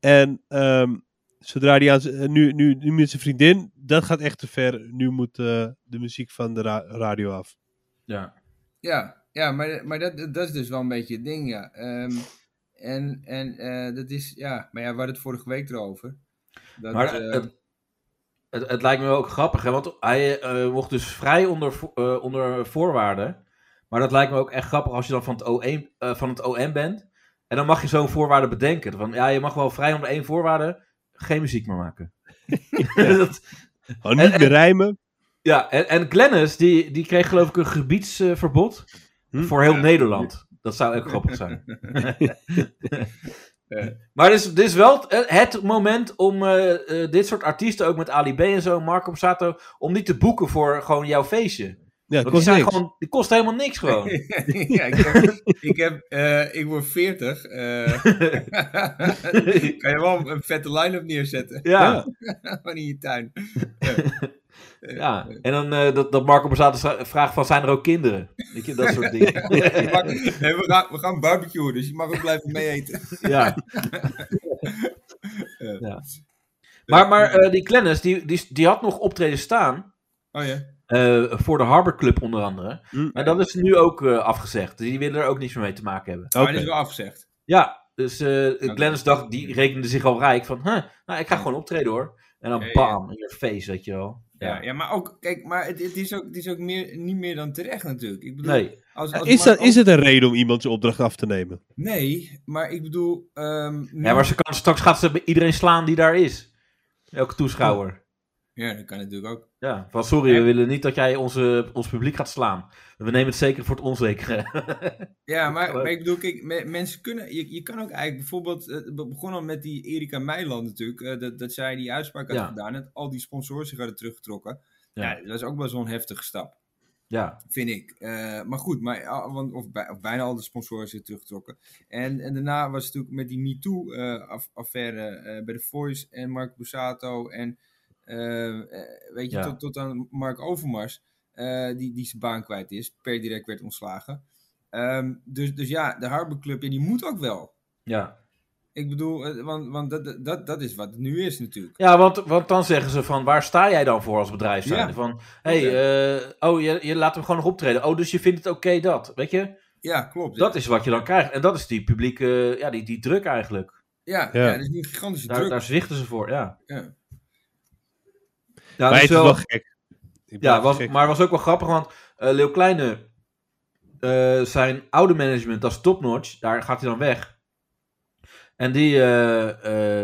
En ehm, zodra die aan z- eh, nu, nu, nu met zijn vriendin, dat gaat echt te ver. Nu moet eh, de muziek van de ra- radio af. Ja. Ja, ja maar, maar dat, dat is dus wel een beetje het ding, ja. Ehm, en en eh, dat is, ja, maar ja, we hadden het vorige week erover. Dat, Maar eh, het, het, het lijkt me wel ook grappig, hè? want hij eh, mocht dus vrij onder, vo- eh, onder voorwaarden. Maar dat lijkt me ook echt grappig als je dan van het OM, eh, van het OM bent. En dan mag je zo'n voorwaarde bedenken. Van, ja, je mag wel vrij onder één voorwaarde geen muziek meer maken. dat, Gewoon niet en- meer rijmen. Ja, en, en Glennis, die, die kreeg geloof ik een gebiedsverbod Hm? voor heel Nederland. Dat zou ook grappig zijn. Eh. maar dit is, dit is wel het, het moment om eh, eh, dit soort artiesten, ook met Ali B en zo, Marco Borsato, om niet te boeken voor gewoon jouw feestje. Ja, Want het die, kost zijn niks. Gewoon, die kost helemaal niks gewoon. eh, ja, ik, heb, ik, heb, eh, ik word 40. eh. kan je wel een vette line-up neerzetten ja. van in je tuin. Ja, en dan eh, dat, dat Marco Borsato stra- vraagt van, zijn er ook kinderen? Weet je, dat soort dingen. Je mag- nee, eh, we, gaan, we gaan barbecuen, dus je mag ook blijven mee eten. ja. ja. Maar, maar eh, die Clennis, die, die, die had nog optreden staan Oh ja. eh, voor de Harbor Club onder andere. Hm. Maar dat is nu ook eh, afgezegd. Dus die willen er ook niks meer mee te maken hebben. Maar Oké. dit is wel afgezegd. Ja, dus eh Nou, Glennis dacht, die rekende zich al rijk van, huh, nou, ik ga gewoon optreden hoor. En dan Ja, ja. bam, in je face, weet je wel. Ja, Ja. ja maar ook, kijk, maar het, het is ook, het is ook meer, niet meer dan terecht natuurlijk. Ik bedoel, Nee, als, als Is, dat, Marco- is het een reden om iemand zijn opdracht af te nemen? Nee, maar ik bedoel... ehm, ja, maar ze kan, straks gaat ze bij iedereen slaan die daar is. Elke toeschouwer. ja, dat kan natuurlijk ook. Ja, van sorry, we willen niet dat jij onze, ons publiek gaat slaan. We nemen het zeker voor het onzekere. Ja, maar, geloof- maar ik bedoel, kijk, me- mensen kunnen... Je, je kan ook eigenlijk bijvoorbeeld... eh, We begonnen al met die Erika Meiland natuurlijk. eh, dat, dat zij die uitspraak had Ja. gedaan. Dat al die sponsoren zich hadden teruggetrokken. Ja. Ja. dat was ook wel zo'n heftige stap. ja, Vind ik. Eh, maar goed, maar, ah, want, of, bij- of bijna al de sponsoren zich teruggetrokken. En, en daarna was het natuurlijk met die eh, MeToo-affaire eh, bij The Voice en Mark Bussato en eh, eh, weet je, Ja. tot, tot aan Mark Overmars, eh, die, die zijn baan kwijt is, per direct werd ontslagen. Ehm, dus, dus ja, de Harbor Club, ja, die moet ook wel. ja. Ik bedoel, eh, want, want dat, dat, dat is wat het nu is natuurlijk. ja want, want dan zeggen ze van, waar sta jij dan voor als bedrijf? Ja. Van, hey, Ja. eh, oh, je, je laat hem gewoon nog optreden. Oh, dus je vindt het oké dat, weet je? Ja, klopt. Dat is wat je dan krijgt. En dat is die publieke, ja, die, die druk eigenlijk. ja, ja. Ja. dat is nu een gigantische Daar, druk. daar zwichten ze voor, ja. Ja. Ja, maar dat is het is wel- wel gek. Ik ben ja was, gek. maar was ook wel grappig, want eh Leeuw Kleine, eh, zijn oude management, dat is topnotch, daar gaat hij dan weg. En die, eh,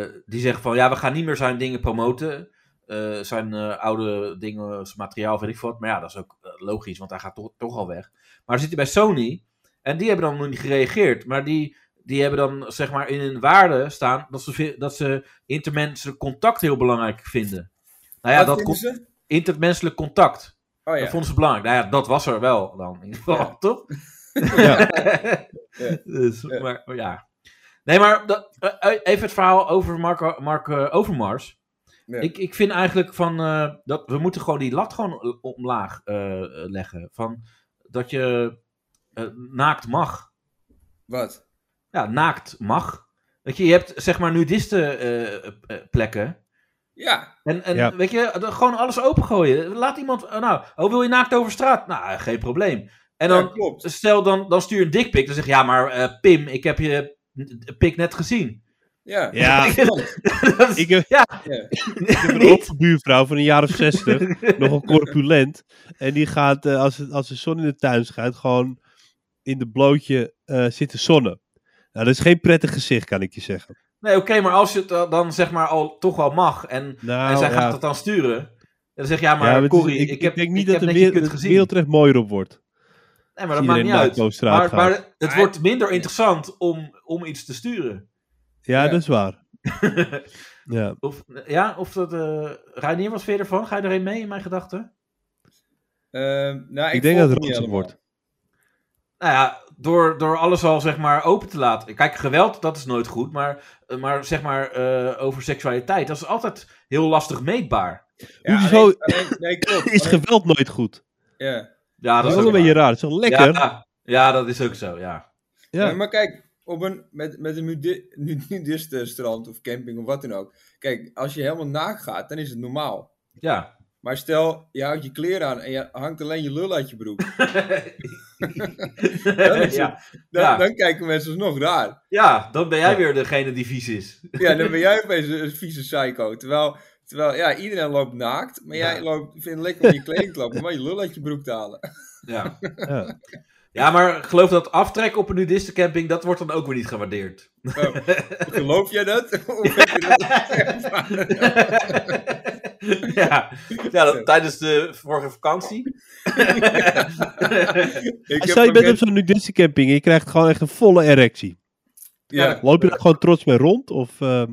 eh, die zeggen van, ja, we gaan niet meer zijn dingen promoten. Eh, zijn eh, oude dingen, zijn materiaal, weet ik wat. Maar ja, dat is ook eh, logisch, want hij gaat toch, toch al weg. Maar dan zit hij bij Sony en die hebben dan nog niet gereageerd. Maar die, die hebben dan, zeg maar, in hun waarde staan dat ze, vi- dat ze intermenselijk contact heel belangrijk vinden. Nou ja, Wat dat vinden komt ze? intermenselijk contact. Oh ja. Dat vonden ze belangrijk. Nou ja, dat was er wel dan in ieder geval, Ja. toch? Ja. Ja. Dus, Ja. Maar, maar ja. Nee, maar dat, eh, eh, even het verhaal over Mark, Mark eh, Overmars. Ja. Ik, ik vind eigenlijk van, eh, dat we moeten gewoon die lat gewoon omlaag eh, leggen. Van, dat je eh, naakt mag. Wat? Ja, naakt mag. Weet je, je hebt zeg maar nudisten eh, eh, plekken. Ja, En, en Ja. weet je, d- gewoon alles opengooien. Laat iemand, eh, nou, oh, wil je naakt over straat? Nou, geen probleem. En ja, dan, klopt. stel, dan, dan stuur je een dikpik. Dan zeg je, ja, maar eh, Pim, ik heb je eh, pik net gezien. Ja. Ja, Dat is- ik heb, ik heb een niet. overbuurvrouw van een jaar of zestig, nogal corpulent. En die gaat, eh, als, het, als de zon in de tuin schijnt, gewoon in de blootje eh, zitten zonnen. Nou, dat is geen prettig gezicht, kan ik je zeggen. Nee, oké, maar als je het dan- dan zeg maar al, toch wel mag en, Nou, en zij ja. gaat het dan sturen. En dan zeg je, ja, Ja, maar het is- Corrie, ik, heb, denk niet ik dat heb de net je wereld, kut het gezien. wereldrecht mooier op wordt. Nee, maar dat Als maakt niet iedereen uit. naakt over straat Maar, gaat. maar het Maar- wordt minder interessant om, om iets te sturen. Ja, Ja. dat is waar. ja. Of, ja, of dat... eh Reinier, wat vind je ervan? Ga je erin mee in mijn gedachten? Ehm, nou, Ik, denk dat volg het niet ranzig helemaal. wordt. Nou ja, door, door alles al zeg maar open te laten. Kijk, geweld, dat is nooit goed. Maar, maar zeg maar eh, over seksualiteit, dat is altijd heel lastig meetbaar. Ja, Hoezo- alleen- alleen- nee, klopt. Is Alleen- geweld nooit goed? ja. Ja, Dat is ook wel een beetje waar. raar. Dat is wel lekker. Ja, Ja, ja, dat is ook zo, ja. Nee, maar kijk, op een, met, met een nudi- nu- nudistenstrand of camping of wat dan ook. Kijk, als je helemaal naakt gaat, dan is het normaal. Ja. Maar stel, je houdt je kleren aan en je hangt alleen je lul uit je broek. is ja. Dan, Ja. dan kijken mensen alsnog raar. ja, dan ben jij weer degene die vies is. Ja, dan ben jij opeens een vieze psycho. Terwijl, terwijl ja, iedereen loopt naakt, maar Ja. jij loopt, vindt het lekker om je kleding te lopen, maar je lul uit je broek te halen. Ja. Ja. ja, maar geloof dat aftrek op een nudistencamping, dat wordt dan ook weer niet gewaardeerd. Nou, geloof jij dat? Of heb je dat ja, ja dat, tijdens de vorige vakantie. Ik heb Stel je een bent wet- op zo'n nudistencamping en je krijgt gewoon echt een volle erectie. ja. Loop je daar gewoon trots mee rond? Of, ehm,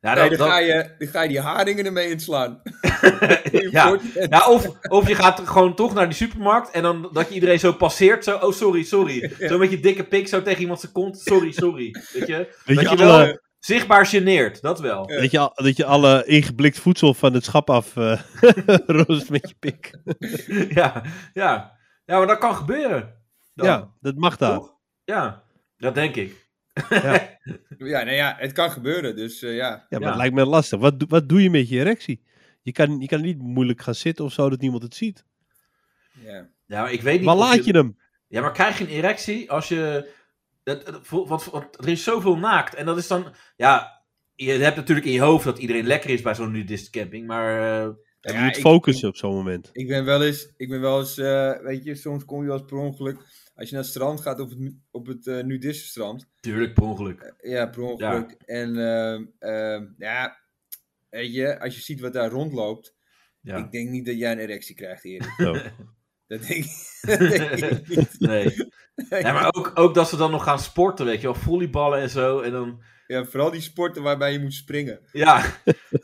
Ja, nee, dat- dan, dat- Ga je, dan ga je die haringen ermee inslaan. ja. Ja, of, of je gaat gewoon toch naar die supermarkt en dan dat je iedereen zo passeert. Zo, oh, sorry, sorry. Zo met je dikke pik zo tegen iemand zijn kont. Sorry, sorry. Weet je? Weet Dat je, je alle, wel eh, zichtbaar geneert, dat wel. Ja. dat, je, al- dat je alle ingeblikt voedsel van het schap af eh roost met je pik. Ja, ja. ja maar dat kan gebeuren. Dan, Ja, dat mag daar. toch? Ja, dat denk ik. Ja, nou ja, het kan gebeuren, dus eh, ja. Ja, maar Ja. het lijkt me lastig. Wat, doe- wat doe je met je erectie? Je kan, je kan niet moeilijk gaan zitten of zo dat niemand het ziet. ja. Ja, maar ik weet niet. Maar of laat je hem. Ja, maar krijg je een erectie als je. Dat, dat- vo- wat, wat- er is zoveel naakt. En dat is dan. Ja, je hebt natuurlijk in je hoofd dat iedereen lekker is bij zo'n nudist camping. Maar. eh, Je Ja, moet ik- focussen op zo'n moment. Ik ben wel eens, ik ben wel eens eh, weet je, soms kom je wel eens per ongeluk. Als je naar het strand gaat, op het, nu- op het eh, nudistenstrand. tuurlijk, per ongeluk. Ja, per ongeluk. En ehm, ehm, ja, weet je, als je ziet wat daar rondloopt. Ja. Ik denk niet dat jij een erectie krijgt, Erik. Zo. Dat denk, dat denk ik niet. Nee. Ja, maar ook, ook dat ze dan nog gaan sporten, weet je wel. Volleyballen en zo. En dan. Ja, vooral die sporten waarbij je moet springen. Ja.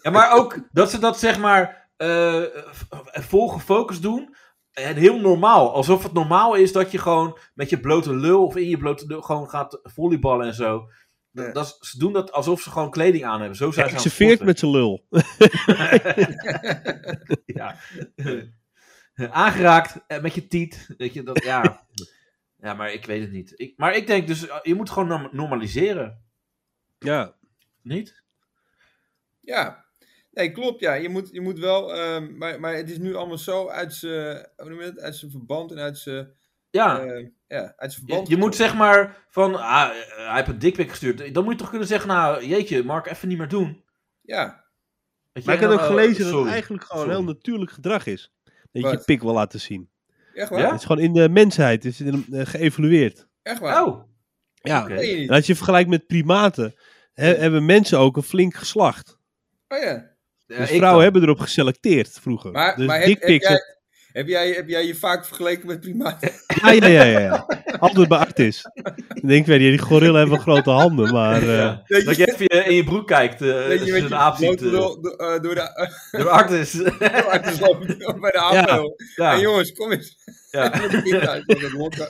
ja maar ook dat ze dat zeg maar. eh, v- vol gefocust doen. En heel normaal. Alsof het normaal is dat je gewoon met je blote lul of in je blote lul gewoon gaat volleyballen en zo. Dat, Ja. dat is- ze doen dat alsof ze gewoon kleding aan hebben. Zo zijn Ik ze aan het serveert sporten. met zijn lul. Ja. Aangeraakt eh, met je tiet. Weet je, dat, ja. ja, maar ik weet het niet. Ik, maar ik denk dus, eh, je moet gewoon norm- normaliseren. Ja, Niet? Ja, nee, klopt. Ja, je moet, je moet wel. ehm, maar, maar het is nu allemaal zo uit zijn hoe noem je dat? Uit zijn verband en uit zijn. Ja. ehm, ja, uit zijn Je, verband. je moet zeg maar van, ah, eh, hij heeft een dikpik gestuurd. Dan moet je toch kunnen zeggen, nou jeetje, Mark, even niet meer doen. Ja, Weet je, Maar ik en had ook dan, eh, gelezen dat het sorry. eigenlijk gewoon Sorry. heel natuurlijk gedrag is. Dat je je Wat? pik wil laten zien. echt waar. Ja? Het is gewoon in de mensheid is het, eh, geëvolueerd. Echt waar. Oh, Ja. Oké. Dat weet je niet. En als je vergelijkt met primaten, he- hebben mensen ook een flink geslacht. Oh ja. eh, Dus ik vrouwen dan. hebben erop geselecteerd vroeger. Maar, dus maar heb, heb, dikpiks. jij, heb, jij, heb jij je vaak vergeleken met primaten? Ja, ja, ja, ja, ja. Altijd bij Artis. Ik denk, weet je, die gorillen hebben grote handen, maar... eh, Ja. Weet Dat je- je even in je broek kijkt, eh Weet als je, je met een je aap ziet. blote eh, lul do- eh, door de eh, door Artis. door uit de sloop, bij de aanval. ja, Hey, jongens, kom eens. ja. Ik ben thuis met het lokken.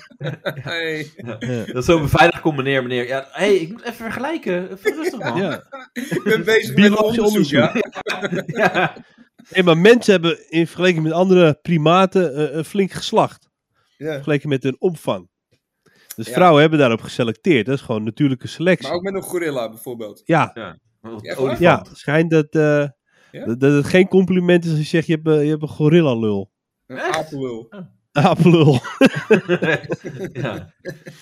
Hey. eh, ja. Dat is zo'n beveiligd combineer, meneer. Ja, hé, ik moet even vergelijken. Even rustig, man. ja. Ik ben bezig met Biologisch onderzoek, ja. onderzoek. ja. Nee, maar mensen hebben in vergelijking met andere primaten eh, een flink geslacht. Ja. vergeleken met hun omvang. Dus Ja. vrouwen hebben daarop geselecteerd. Dat is gewoon natuurlijke selectie. Maar ook met een gorilla bijvoorbeeld. Ja, Echt waar? Olifant. ja, het schijnt dat, eh, Ja? dat, dat het geen compliment is als je zegt je hebt, eh, je hebt een gorilla-lul. Een Echt? apenlul. Apelul. ja.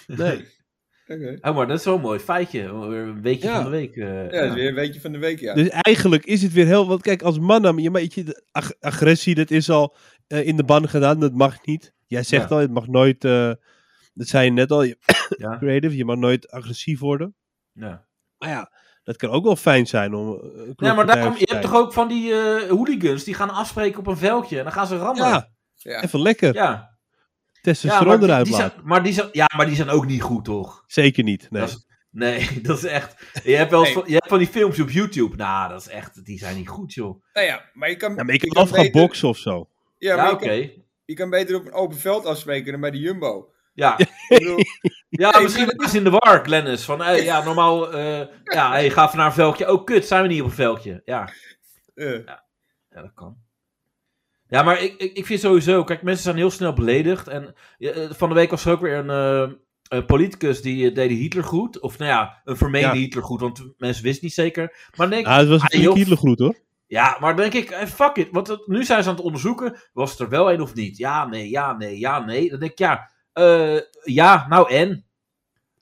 Nee. Oké. Oh, maar dat is wel een mooi feitje. Weer Een weekje Ja. van de week. eh, Ja, dat is weer een weekje van de week, ja. Dus eigenlijk is het weer heel wat. Kijk, als man, dan- je weet je, de ag- agressie, dat is al eh, in de ban gedaan. Dat mag niet. Jij zegt al, het mag nooit. eh, dat zei je net al. Je, Ja. creative, je mag nooit agressief worden. Ja. Maar ja, dat kan ook wel fijn zijn om. eh, een Ja, maar kloppartij daarom, af je te hebt krijgen. toch ook van die eh, hooligans die gaan afspreken op een veldje en dan gaan ze rammen. Ja, Ja. even lekker. ja. Ja, Testosteron maar, die, eruit die laten. zijn, maar, die zijn, ja maar die zijn ook niet goed, toch? Zeker niet. Nee. Dat is- nee, dat is echt. Je hebt, wel eens Nee. van, je hebt van die filmpjes op YouTube. Nou, dat is echt. Die zijn niet goed, joh. Nou ja, maar je kan... Ja, maar ik je kan af gaan beter- boksen of zo. Ja, Ja, maar je, oké. kan, je kan beter op een open veld afspreken dan bij de Jumbo. Ja. Ik bedoel, Ja, Nee, misschien maar- is in de war, Glennis. Van, eh, ja, normaal, eh ja, hey, ga even naar een veldje. Oh, kut, zijn we niet op een veldje. Ja, eh, ja dat kan. Ja, maar ik, ik, ik vind sowieso... Kijk, mensen zijn heel snel beledigd. En eh, van de week was er ook weer een, eh, een politicus die eh, deed Hitler goed. Of nou ja, een vermeende Ja. Hitler goed, want mensen wisten niet zeker. Maar dan denk, ik- Ah, het was Ah, een joh. Hitler groet hoor. ja, maar dan denk ik, eh, fuck it. Want het- nu zijn ze aan het onderzoeken, was het er wel een of niet? Ja, nee, ja, nee, ja, nee. Dan denk ik, ja, eh, ja, nou en?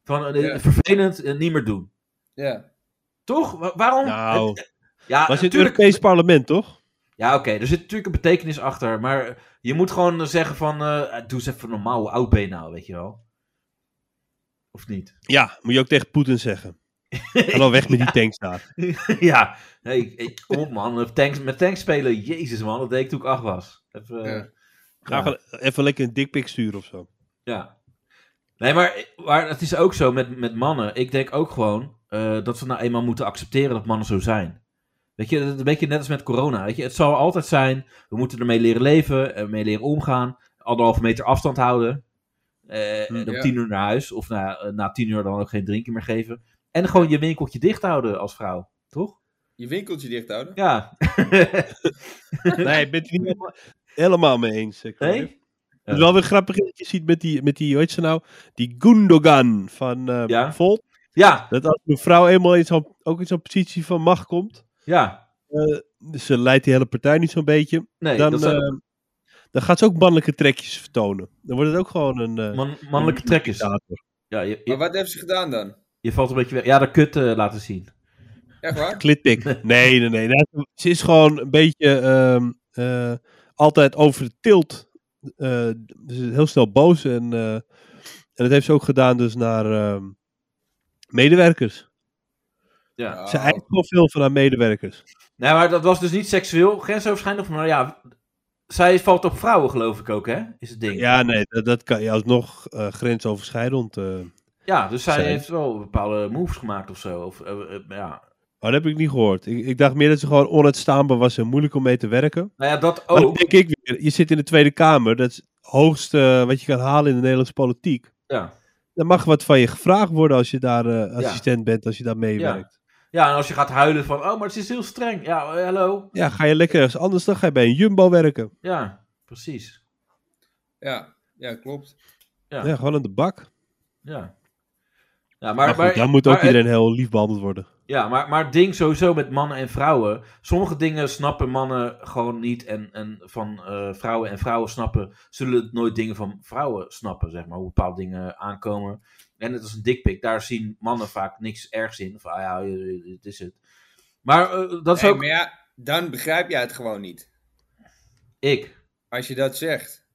Van, eh, Ja. Vervelend, eh, niet meer doen. ja. Toch? Wa- waarom? Nou, Het- ja, was in het natuurlijk. Europees parlement toch? Ja, oké, er zit natuurlijk een betekenis achter. Maar je moet gewoon eh, zeggen van, eh, doe eens even normaal, hoe oud ben je nou, weet je wel? Of niet? Ja, moet je ook tegen Poetin zeggen. Ga dan weg met die tanks daar. ja, nee, ik- ik- kom op man, tanks, met tanks spelen, jezus man, dat deed ik toen ik acht was. Even, eh, Ja. Ga Ja. gewoon even lekker een dikpik sturen of zo. Ja. Nee, maar, maar het is ook zo met, met mannen. Ik denk ook gewoon eh, dat we nou eenmaal moeten accepteren dat mannen zo zijn. Weet je, dat is een beetje net als met corona. Weet je, het zal altijd zijn, we moeten ermee leren leven, ermee leren omgaan, anderhalve meter afstand houden. eh, en om Ja. tien uur naar huis, of na, eh, na tien uur dan ook geen drinken meer geven. En gewoon je winkeltje dicht houden als vrouw, toch? Je winkeltje dicht houden? Ja. Nee, ik ben het niet helemaal- helemaal mee eens. eh, Cruijff. Nee? Het is wel weer grappig dat je ziet met die, met die hoe heet ze nou? Die Gundogan van eh Ja. Volt. Ja, Dat als een vrouw eenmaal in zo'n- ook in zo'n positie van macht komt, ja. dus ze leidt die hele partij niet zo'n beetje, Nee, dan, dat zijn eh, dan gaat ze ook mannelijke trekjes vertonen. Dan wordt het ook gewoon een... eh, man- mannelijke trekkers. dictator. Ja, je, je, Maar wat heeft ze gedaan dan? je valt een beetje weg. Ja, de kut eh, laten zien. Echt waar? Klitpik. Nee, nee, nee. Dat- Ze is gewoon een beetje ehm, eh, altijd over de tilt. Eh, dus heel snel boos. En, eh, en dat heeft ze ook gedaan dus naar ehm, medewerkers. Ja. Nou, Ze eist gewoon veel van haar medewerkers. Nee, maar dat was dus niet seksueel, grensoverschrijdend. Maar ja, zij valt op vrouwen, geloof ik ook, hè? Is het ding. Ja, nee, dat, dat kan je alsnog eh, grensoverschrijdend. eh. Ja, dus zij Zij. heeft wel bepaalde moves gemaakt of zo. Of, eh, eh, ja. Maar dat heb ik niet gehoord. Ik, ik dacht meer dat ze gewoon onuitstaanbaar was en moeilijk om mee te werken. Nou ja, dat Maar dan ook. denk ik weer, je zit in de Tweede Kamer. Dat is het hoogste eh, wat je kan halen in de Nederlandse politiek. Ja. Er mag wat van je gevraagd worden als je daar eh, assistent bent, als je daar meewerkt. ja, en als je gaat huilen van, oh, maar het is heel streng. Ja, eh, hallo. Ja. ga je lekker ergens anders, dan ga je bij een jumbo werken. Ja, precies. Ja, ja, klopt. Ja. Ja, gewoon aan de bak. Ja. Ja, Maar, maar, goed, maar, dan moet ook maar het- iedereen heel lief behandeld worden. Ja, maar, maar het ding sowieso met mannen en vrouwen. Sommige dingen snappen mannen gewoon niet. En, en van eh, vrouwen en vrouwen snappen. Zullen nooit dingen van vrouwen snappen, zeg maar. Hoe bepaalde dingen aankomen. En net als een dikpik, daar zien mannen vaak niks ergs in. Van, ah ja, eh, dit is het. Maar eh, dat is Nee, ook Maar ja, dan begrijp jij het gewoon niet. ik. Als je dat zegt.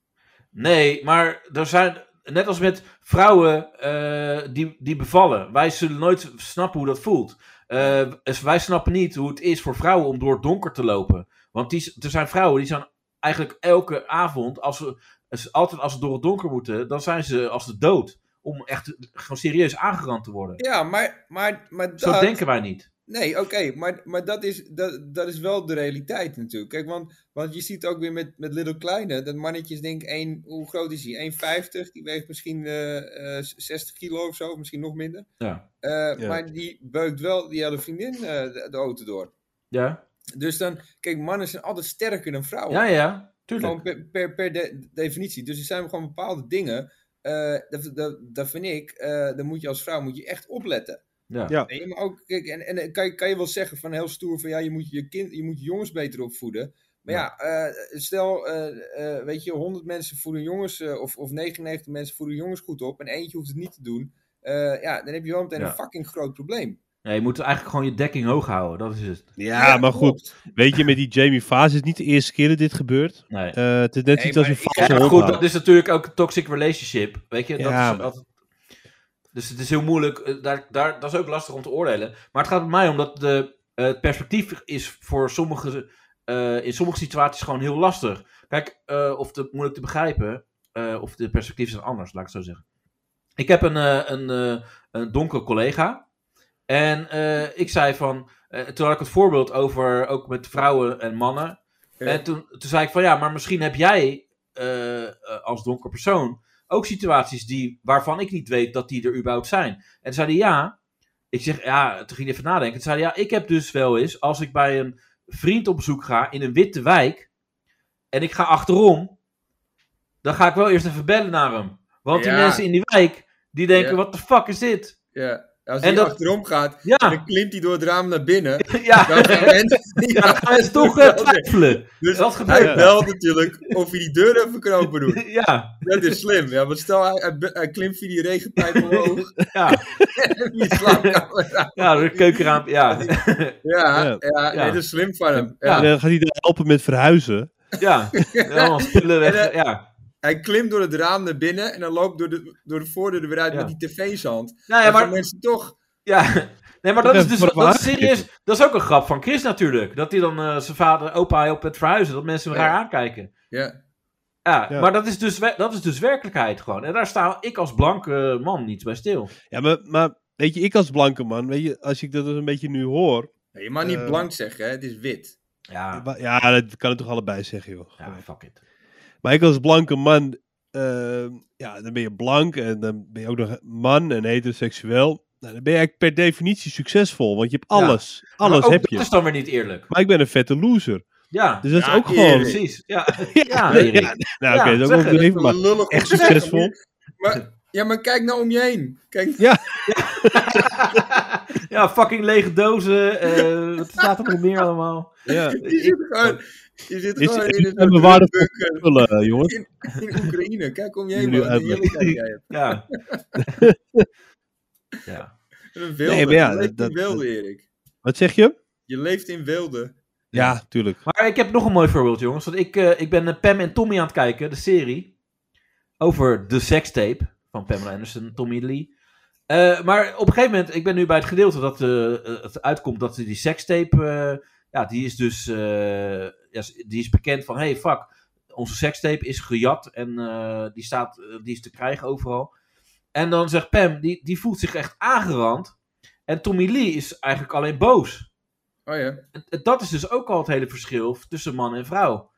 Nee, maar er zijn. Net als met vrouwen eh, die, die bevallen. Wij zullen nooit snappen hoe dat voelt. Eh, dus wij snappen niet hoe het is voor vrouwen om door het donker te lopen. Want die, er zijn vrouwen die zijn eigenlijk elke avond, als ze, als- altijd als ze door het donker moeten, dan zijn ze als de dood. Om echt gewoon serieus aangerand te worden. Ja, maar, maar, maar dat... Zo denken wij niet. Nee, oké, maar, maar dat, is, dat, dat is wel de realiteit natuurlijk. Kijk, want, want je ziet ook weer met, met Little Kleine, dat mannetjes denk ik, één- hoe groot is hij? 1,50, die weegt misschien eh, eh, 60 kilo of zo, misschien nog minder. Ja. Eh, Ja. Maar die beukt wel die hele vriendin eh, de, de auto door. Ja, Dus dan, kijk, mannen zijn altijd sterker dan vrouwen. ja, ja. Tuurlijk. Gewoon per, per, per de- definitie. Dus er zijn gewoon bepaalde dingen, eh, dat, dat, dat vind ik, eh daar moet je als vrouw moet je echt opletten. Ja. Ja. Nee, maar ook, kijk, en, en eh, kan, je- kan je wel zeggen van heel stoer van ja, je moet je, kind, je, moet je jongens beter opvoeden. Maar ja, eh, stel, eh, eh, weet je, 100 mensen voeden jongens, eh, of, of 99 mensen voeden jongens goed op, en eentje hoeft het niet te doen. Eh, ja, dan heb je wel meteen Ja. een fucking groot probleem. Nee, je moet eigenlijk gewoon je dekking hoog houden. Dat is het. Ja, maar goed. klopt. Weet je, met die Jamie Vaas is het niet de eerste keer dat dit gebeurt. Nee. Eh, het is net Nee, iets als maar een ik- valse Ja, maar hond goed, houden. dat is natuurlijk ook een toxic relationship. Weet je, dat Ja, is maar- altijd... Dus het is heel moeilijk. eh, Daar, daar, dat is ook lastig om te oordelen. Maar het gaat bij mij om dat de, eh, het perspectief is voor sommige, eh, in sommige situaties gewoon heel lastig. Kijk, eh, of te, moeilijk te begrijpen, eh, of de perspectieven zijn anders, laat ik het zo zeggen. Ik heb een, eh, een, eh, een donkere collega. En eh, ik zei van. eh, toen had ik het voorbeeld over ook met vrouwen en mannen. Ja. En toen, toen zei ik van ja, maar misschien heb jij eh, eh, als donker persoon ook situaties die, waarvan ik niet weet dat die er überhaupt zijn. En toen zei hij ja. Ik zeg ja, toen ging hij even nadenken. Toen zei hij ja, ik heb dus wel eens, als ik bij een vriend op bezoek ga in een witte wijk. en ik ga achterom. dan ga ik wel eerst even bellen naar hem. Want die Ja. mensen in die wijk. die denken: Ja. wat de fuck is dit? Ja, als En hij dat- achterom gaat, Ja, dan klimt hij door het raam naar binnen. ja. Dan gaan mensen- Ja, dan gaan ze toch eh, twijfelen. dus wat hij gebeurt er? belt natuurlijk of hij die deur even kan open doet. Ja, Dat is slim. Ja, want stel, hij, hij, be- hij klimt via die regenpijp omhoog. ja, en die slaapkamer uit. ja, de keukenraam, ja, Ja, Ja. ja, Ja. nee, dat is slim van hem. Ja. Ja. En dan gaat hij daar helpen met verhuizen. ja, allemaal spullen weg, En, eh, ja. Hij klimt door het raam naar binnen en dan loopt door de, door de voordeur er weer uit Ja. met die tv's hand. Nou ja, Dat maar, mensen toch... ja, nee, maar dat is dus, Voor de dat is aangifte. serieus, dat is ook een grap van Chris natuurlijk, dat hij dan eh, zijn vader, opa helpt met verhuizen, dat mensen hem Ja. raar aankijken. Ja, Ja, Ja. maar dat is, dus, we- dat is dus werkelijkheid gewoon. En daar sta ik als blanke man niet bij stil. Ja, maar, maar weet je, ik als blanke man, weet je, als ik dat dus een beetje nu hoor, Ja, je mag niet Eh, blank zeggen, hè? het is wit. Ja, Wa- Ja, dat kan het toch allebei zeggen, joh. ja fuck it. Maar ik als blanke man, eh, ja, dan ben je blank en dan ben je ook nog man en heteroseksueel. Nou, dan ben je eigenlijk per definitie succesvol, want je hebt Ja. alles. Alles Maar ook heb dat je. is dan weer niet eerlijk. Maar ik ben een vette loser. Ja, Dus dat is Ja, ook gewoon... eerlijk. precies. Ja, ja, Erik. Ja, nou, oké, Ja, dat is zeg ook het. wel even, maar Lullig om echt te zeggen, succesvol. Maar, ja, maar kijk nou om je heen. Kijk, ja, fucking lege dozen. eh, wat staat er nog meer allemaal? Ja. je zit gewoon, je zit Dit gewoon in dit een zijn we soort waardevol bunker spullen, eh, jongens. in, in Oekraïne. Kijk om je heen, Jullie man. Wat een uitleggen. heerlijkheid jij hebt. Ja. ja. Een wilde. Nee, maar ja, je leeft dat- in wilde, dat- Erik. Wat zeg je? Je leeft in wilde. Ja, tuurlijk. Maar ik heb nog een mooi voorbeeld, jongens. Want ik, eh, ik ben eh, Pam en Tommy aan het kijken, de serie. Over de sekstape van Pamela Anderson en Tommy Lee. Eh, maar op een gegeven moment, ik ben nu bij het gedeelte dat eh, eh, het uitkomt dat die sekstape. eh, ja, die is dus. eh, ja, die is bekend van: hey, fuck. Onze sekstape is gejat en eh, die, staat, eh, die is te krijgen overal. En dan zegt Pam, die, die voelt zich echt aangerand. En Tommy Lee is eigenlijk alleen boos. Oh ja. En dat is dus ook al het hele verschil tussen man en vrouw.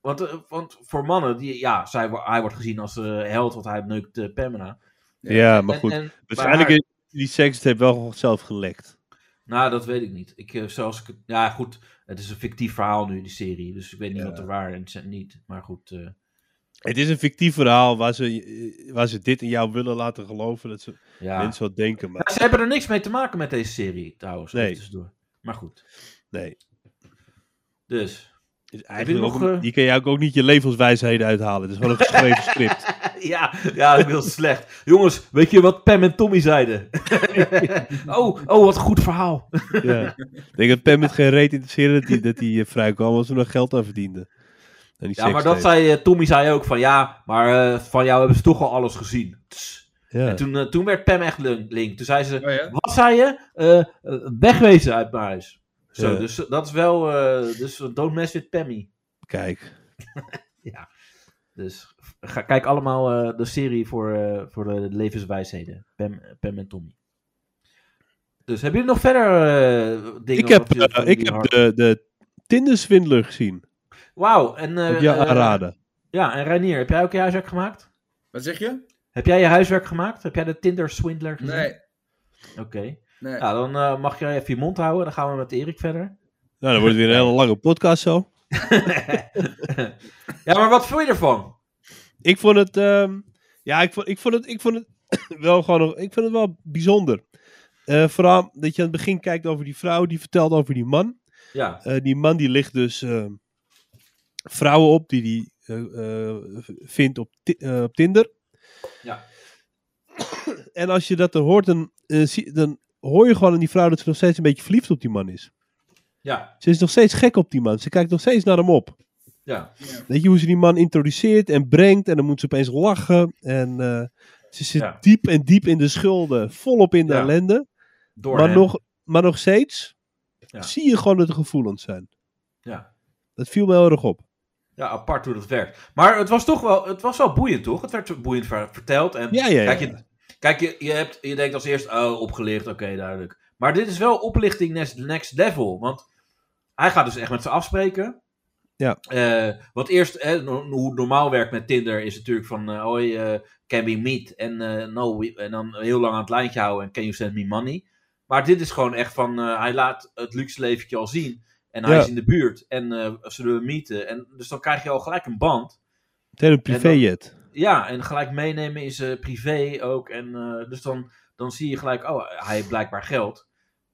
Want, eh, want voor mannen, die, ja, zij, wo- hij wordt gezien als de held, want hij neukt eh, Pamela. Ja. Ja, maar En- goed. en- maar Waarschijnlijk haar- is die sekstape wel gewoon zelf gelekt. nou, dat weet ik niet. Ik, eh, zoals ik, het- ja, goed, het is een fictief verhaal nu, die serie. Dus ik weet niet Ja. wat er waar en ze- niet. Maar goed, eh, Het is een fictief verhaal waar ze, eh, waar ze dit in jou willen laten geloven. Dat ze ja. mensen wat denken, maar Nou, ze hebben er niks mee te maken met deze serie, trouwens. Nee. Nee. Tussendoor. Maar goed, nee. dus. Is je eigenlijk nog, ook een- eh, Die kan jij ook, ook niet je levenswijsheden uithalen. Het is gewoon een geschreven script. Ja, ja, dat is heel slecht. Jongens, weet je wat Pam en Tommy zeiden? oh, oh, wat een goed verhaal. Ja. Ik denk dat Pam het geen reet interesseerde dat hij, dat hij eh, vrij kwam, want ze nog geld aan verdiende. En die Ja, maar sekstape. dat zei eh, Tommy zei ook van ja, maar eh, van jou hebben ze toch al alles gezien. Tss. Ja. En toen, eh, toen werd Pam echt link. link. Toen zei ze, Oh ja. wat zei je? Eh, eh, wegwezen uit mijn huis. Zo, Ja. dus dat is wel, eh, dus don't mess with Pammy. Kijk. Dus ga, kijk allemaal eh, de serie voor, eh, voor de levenswijsheden. Pam, Pam en Tommy. Dus hebben jullie nog verder eh, dingen? Ik heb, wat je- eh, ik heb de, de Tinder-swindler gezien. Wauw, en... eh, Op jou eh, aanraden. ja, en Reinier, heb jij ook je huiswerk gemaakt? Wat zeg je? Heb jij je huiswerk gemaakt? Heb jij de Tinder-swindler gezien? Nee. Oké. nee. Ja, dan eh, mag jij even je mond houden. Dan gaan we met Erik verder. Nou, dan wordt het weer een hele lange podcast zo. ja, maar wat vond je ervan? Ik vond het, ehm, ja, ik vond, ik vond het, ik vond het wel gewoon, nog- ik vond het wel bijzonder. Eh, vooral dat je aan het begin kijkt over die vrouw, die vertelt over die man. Ja, Eh, die man die ligt dus eh, vrouwen op die die eh, eh, v- vindt op, Ti- eh, op Tinder. Ja. en als je dat dan hoort, dan, eh, zie- dan hoor je gewoon aan die vrouw dat ze nog steeds een beetje verliefd op die man is. ja, Ze is nog steeds gek op die man. Ze kijkt nog steeds naar hem op. ja. Weet je hoe ze die man introduceert en brengt en dan moet ze opeens lachen. En eh, ze zit Ja. diep en diep in de schulden, volop in de Ja. ellende. Door maar, hem. nog, maar nog steeds Ja. zie je gewoon dat er gevoelens zijn. Ja. Dat viel me heel erg op. ja, apart hoe dat werkt. Maar het was toch wel, het was wel boeiend, toch? Het werd boeiend ver- verteld. En Ja, ja, ja. Kijk, je, kijk je, je, hebt, je denkt als eerst, oh, opgelicht, oké, duidelijk. Maar dit is wel oplichting next, next level. Want hij gaat dus echt met ze afspreken. Ja. Eh, want eerst, hè, no- hoe het normaal werkt met Tinder, is natuurlijk van, eh hoi, eh, can we meet? En, eh, no, we- en dan heel lang aan het lijntje houden en can you send me money? Maar dit is gewoon echt van, eh, hij laat het luxe leventje al zien. En hij Ja. is in de buurt. En eh zullen we meeten? En, dus dan krijg je al gelijk een band. Meteen een dan- privéjet. Ja, en gelijk meenemen is eh, privé ook. En, eh, dus dan, dan zie je gelijk, oh, hij heeft blijkbaar geld.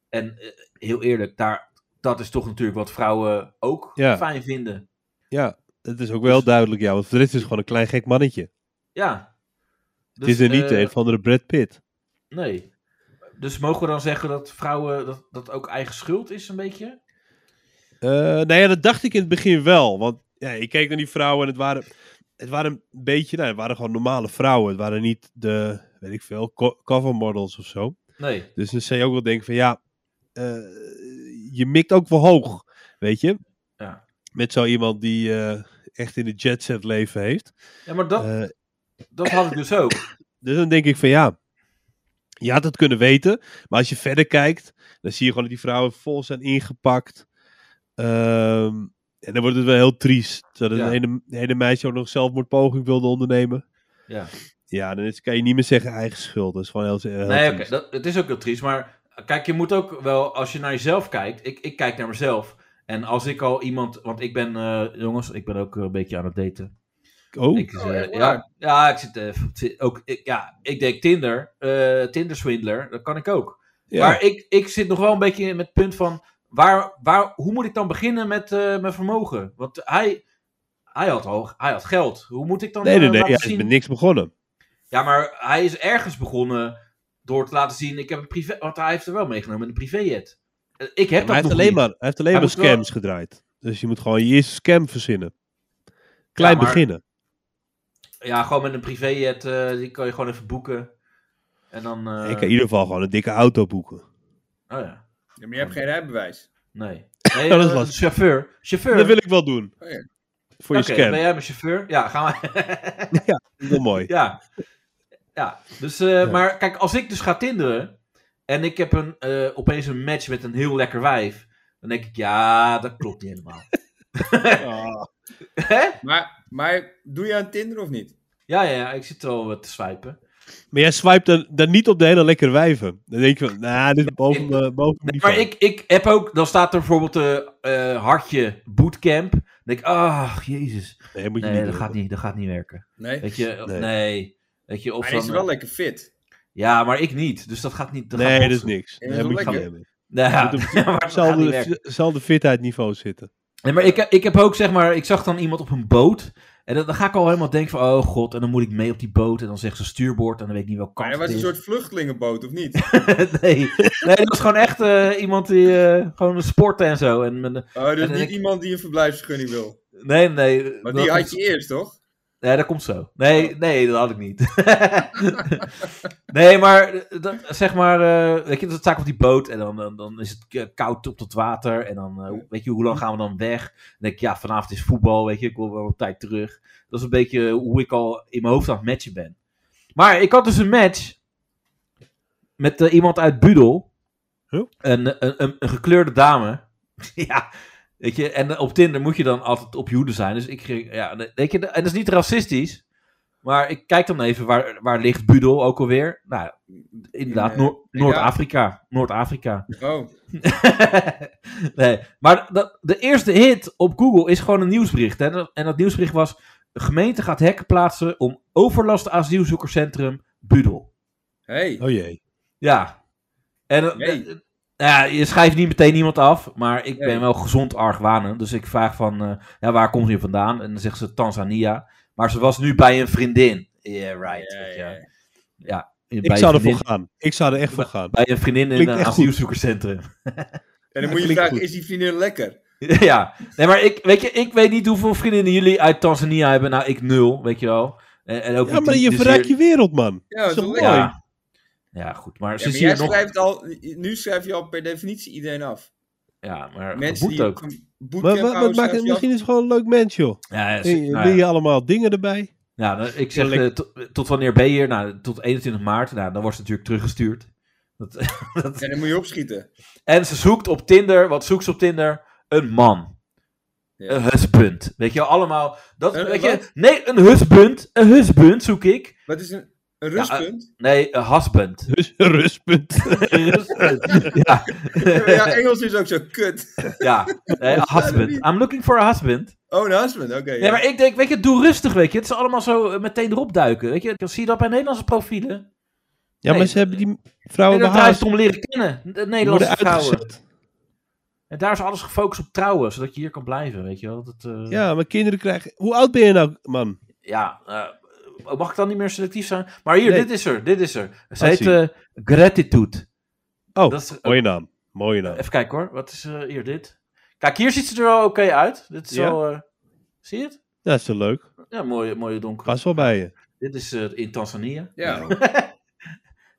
En eh, heel eerlijk, daar, dat is toch natuurlijk wat vrouwen ook Ja. fijn vinden. Ja, dat is ook wel Dus- duidelijk. Ja, want voor de rest is het gewoon een klein gek mannetje. Ja. het is er niet eh, een van de Brad Pitt. Nee. Dus mogen we dan zeggen dat vrouwen, dat, dat ook eigen schuld is een beetje? Eh, nou ja, dat dacht ik in het begin wel. Want ja, ik keek naar die vrouwen en het waren, het waren een beetje, nou, het waren gewoon normale vrouwen. Het waren niet de, weet ik veel, co- cover models of zo. Nee. Dus dan zou je ook wel denken van ja, eh, je mikt ook wel hoog, weet je. Ja. Met zo iemand die eh, echt in de jet set leven heeft. Ja, maar dat, Eh, dat had ik dus ook. Dus dan denk ik van ja, Je had het kunnen weten, maar als je verder kijkt, dan zie je gewoon dat die vrouwen vol zijn ingepakt. Ehm, en dan wordt het wel heel triest. Dat het Ja. ene, de ene meisje ook nog een zelfmoordpoging wilde ondernemen. Ja. Ja, dan is, kan je niet meer zeggen eigen schuld. Dat is gewoon heel, heel Nee, oké, triest. dat- het is ook heel triest, maar kijk, je moet ook wel, als je naar jezelf kijkt, ik, ik kijk naar mezelf. En als ik al iemand, want ik ben, eh, jongens, ik ben ook een beetje aan het daten. Oh, Ik, eh, Oh, echt ja, ja, ik zit, eh, ik zit ook, ik, ja, ik denk Tinder, eh Tinder swindler, dat kan ik ook. ja. Maar ik, ik zit nog wel een beetje met het punt van, waar, waar, hoe moet ik dan beginnen met eh, mijn vermogen? Want hij, hij, had al, hij had geld, hoe moet ik dan nee, nee, eh, nee. laten Ja, zien- ik ben niks begonnen. ja, maar hij is ergens begonnen door te laten zien. Ik heb een privé. Want hij heeft er wel meegenomen een privéjet. Eh, Ik heb dat Maar hij, heeft nog alleen niet. maar, hij heeft alleen Hij maar moet wel- scams gedraaid. Dus je moet gewoon je eerste scam verzinnen. Klein maar- beginnen. Ja, gewoon met een privéjet. eh, die kan je gewoon even boeken. En dan. eh, ik kan in ieder geval gewoon een dikke auto boeken. Oh ja. Ja, maar je hebt geen rijbewijs. Nee. nee Oh, Dat is eh, lastig. Chauffeur. Chauffeur. Dat wil ik wel doen. Oh ja. Voor je Oké, scam. ben jij mijn chauffeur? Ja, gaan we. Heel mooi. ja. Ja. Dus, eh, Ja. maar kijk, als ik dus ga tinderen. En ik heb een, eh, opeens een match met een heel lekker wijf. Dan denk ik, ja, dat klopt niet helemaal. Ah, Hè? Maar, maar doe je aan Tinder of niet? ja, ja, ja, ik zit wel wat te swipen. Maar jij swipe dan, dan niet op de hele lekkere wijven. Dan denk je van, nou, dit is boven ik- me boven mijn Nee, niveau. maar ik, ik heb ook, dan staat er bijvoorbeeld eh, eh, hartje bootcamp. Dan denk ik, ach, jezus. Nee, moet je Nee, niet dat doen. gaat niet, dat gaat niet werken. Nee. Weet je, Nee. nee. Weet je, of maar hij is dan, wel eh, lekker fit. Ja, maar ik niet, dus dat gaat niet. Dat Nee, gaat dat is niet. niks. Ja, Nee, dat is moet je wel niet lekker. hebben. Nou ja, Je moet maar dat gaat niet werken. Hetzelfde- Hetzelfde fitheidsniveau zitten. Nee, maar ik, ik heb ook, zeg maar, ik zag dan iemand op een boot. En dan, dan ga ik al helemaal denken van, oh god, en dan moet ik mee op die boot. En dan zegt ze stuurboord en dan weet ik niet welke Maar kant hij was het een is. soort vluchtelingenboot, of niet? Oh, nee, nee, dat was gewoon echt eh, iemand die eh, gewoon sporten en zo. En, met een- Oh, dus En dan niet ik- iemand die een verblijfsvergunning wil. nee, nee. Maar dat die komt- had je Oh. eerst, toch? Nee, dat komt zo. Nee, nee dat had ik niet. nee, maar dat, zeg maar, eh, weet je, dat zaak op die boot en dan, dan, dan is het k- koud op dat water en dan, eh, hoe- weet je, hoe lang gaan we dan weg? Dan denk ik, ja, vanavond is voetbal, weet je, ik wil wel op tijd terug. Dat is een beetje hoe ik al in mijn hoofd aan het matchen ben. Maar ik had dus een match met eh, iemand uit Budel. Huh? Een, een, een, een gekleurde dame. ja, weet je, en op Tinder moet je dan altijd op je hoede zijn. Dus ik ging, ja, weet je, en dat is niet racistisch. Maar ik kijk dan even, waar, waar ligt Budel ook alweer? Nou, inderdaad, eh, Noor- Noord-Afrika. Noord-Afrika. Oh, nee, maar dat, de eerste hit op Google is gewoon een nieuwsbericht. Hè? Dat- En dat nieuwsbericht was... De gemeente gaat hekken plaatsen om overlast asielzoekerscentrum Budel. hey. Oh jee. Ja. En, eh, Nee. eh, ja, je schrijft niet meteen iemand af, maar ik Nee. ben wel gezond argwanend. Dus ik vraag van, eh, ja, waar komt je vandaan? En dan zegt ze Tanzania. Maar ze was nu bij een vriendin. Yeah, right. Ja, weet je. ja, Ja, ja. Ik bij zou een ervoor vriendin, gaan. Ik zou er echt voor gaan. bij een vriendin in Klinkt een echt goed. asielzoekerscentrum. En Ja, dan moet je klinkt vragen, goed. is die vriendin lekker? Ja, nee, maar ik weet, je, ik weet niet hoeveel vriendinnen jullie uit Tanzania hebben. Nou, ik nul, weet je wel. En, en ook Ja, met maar die- je dus verrijkt je hier- wereld, man. Ja, Zo dat is mooi. wel lekker. Ja. ja, goed, maar Ja, ze maar zien jij er nog... schrijft al, nu schrijf je al per definitie iedereen af. Ja, maar Mensen moet die ook. een bootcamp Maar, wat- wat houden, maakt het, schrijf je misschien is het gewoon een leuk mens, joh. Ja, ze- Hey, nou ja. leer je allemaal dingen erbij. Ja, nou, ik zeg, Eerlijk. eh, tot- tot wanneer ben je hier? Nou, tot 21 maart. Nou, dan wordt ze natuurlijk teruggestuurd. Dat, af. dat- En dan moet je opschieten. en ze zoekt op Tinder, wat zoekt ze op Tinder? Een man. Ja. Een husband. Weet je, wel, allemaal... Dat, Een- weet een je, nee, een husband. Een husband zoek ik. Wat is een, een Ja, eh, rustpunt? Nee, een husband. Dus rustpunt. Een husband. ja. Ja, Engels is ook zo kut. Ja, nee, a husband. I'm looking for a husband. Oh, een husband, oké. ja. Nee, maar ik denk, weet je, doe rustig, weet je. Het is allemaal zo eh, meteen erop duiken, weet je. Zie je dat bij Nederlandse profielen? Ja, maar Nee, ze hebben die En vrouwen dat daar is behaald. het om leren kennen, de Die Nederlandse Oh, worden vrouwen. uitgezet. En daar is alles gefocust op trouwen, zodat je hier kan blijven, weet je wel. Dat, eh, Ja, maar kinderen krijgen... Hoe oud ben je nou, man? ja eh, mag ik dan niet meer selectief zijn? Maar hier, Nee. dit is er, dit is er. Ze Ah, heet zie. eh, Gratitude. Oh, Dat is- eh, mooie naam. Mooie naam. Even kijken hoor, wat is eh, hier dit? Kijk, hier ziet ze er wel oké uit. Dit is Ja. wel, eh, zie je het? Dat is wel leuk. Ja, mooie, mooie donkere. Pas wel bij je. Dit is eh, in Tanzania. Ja.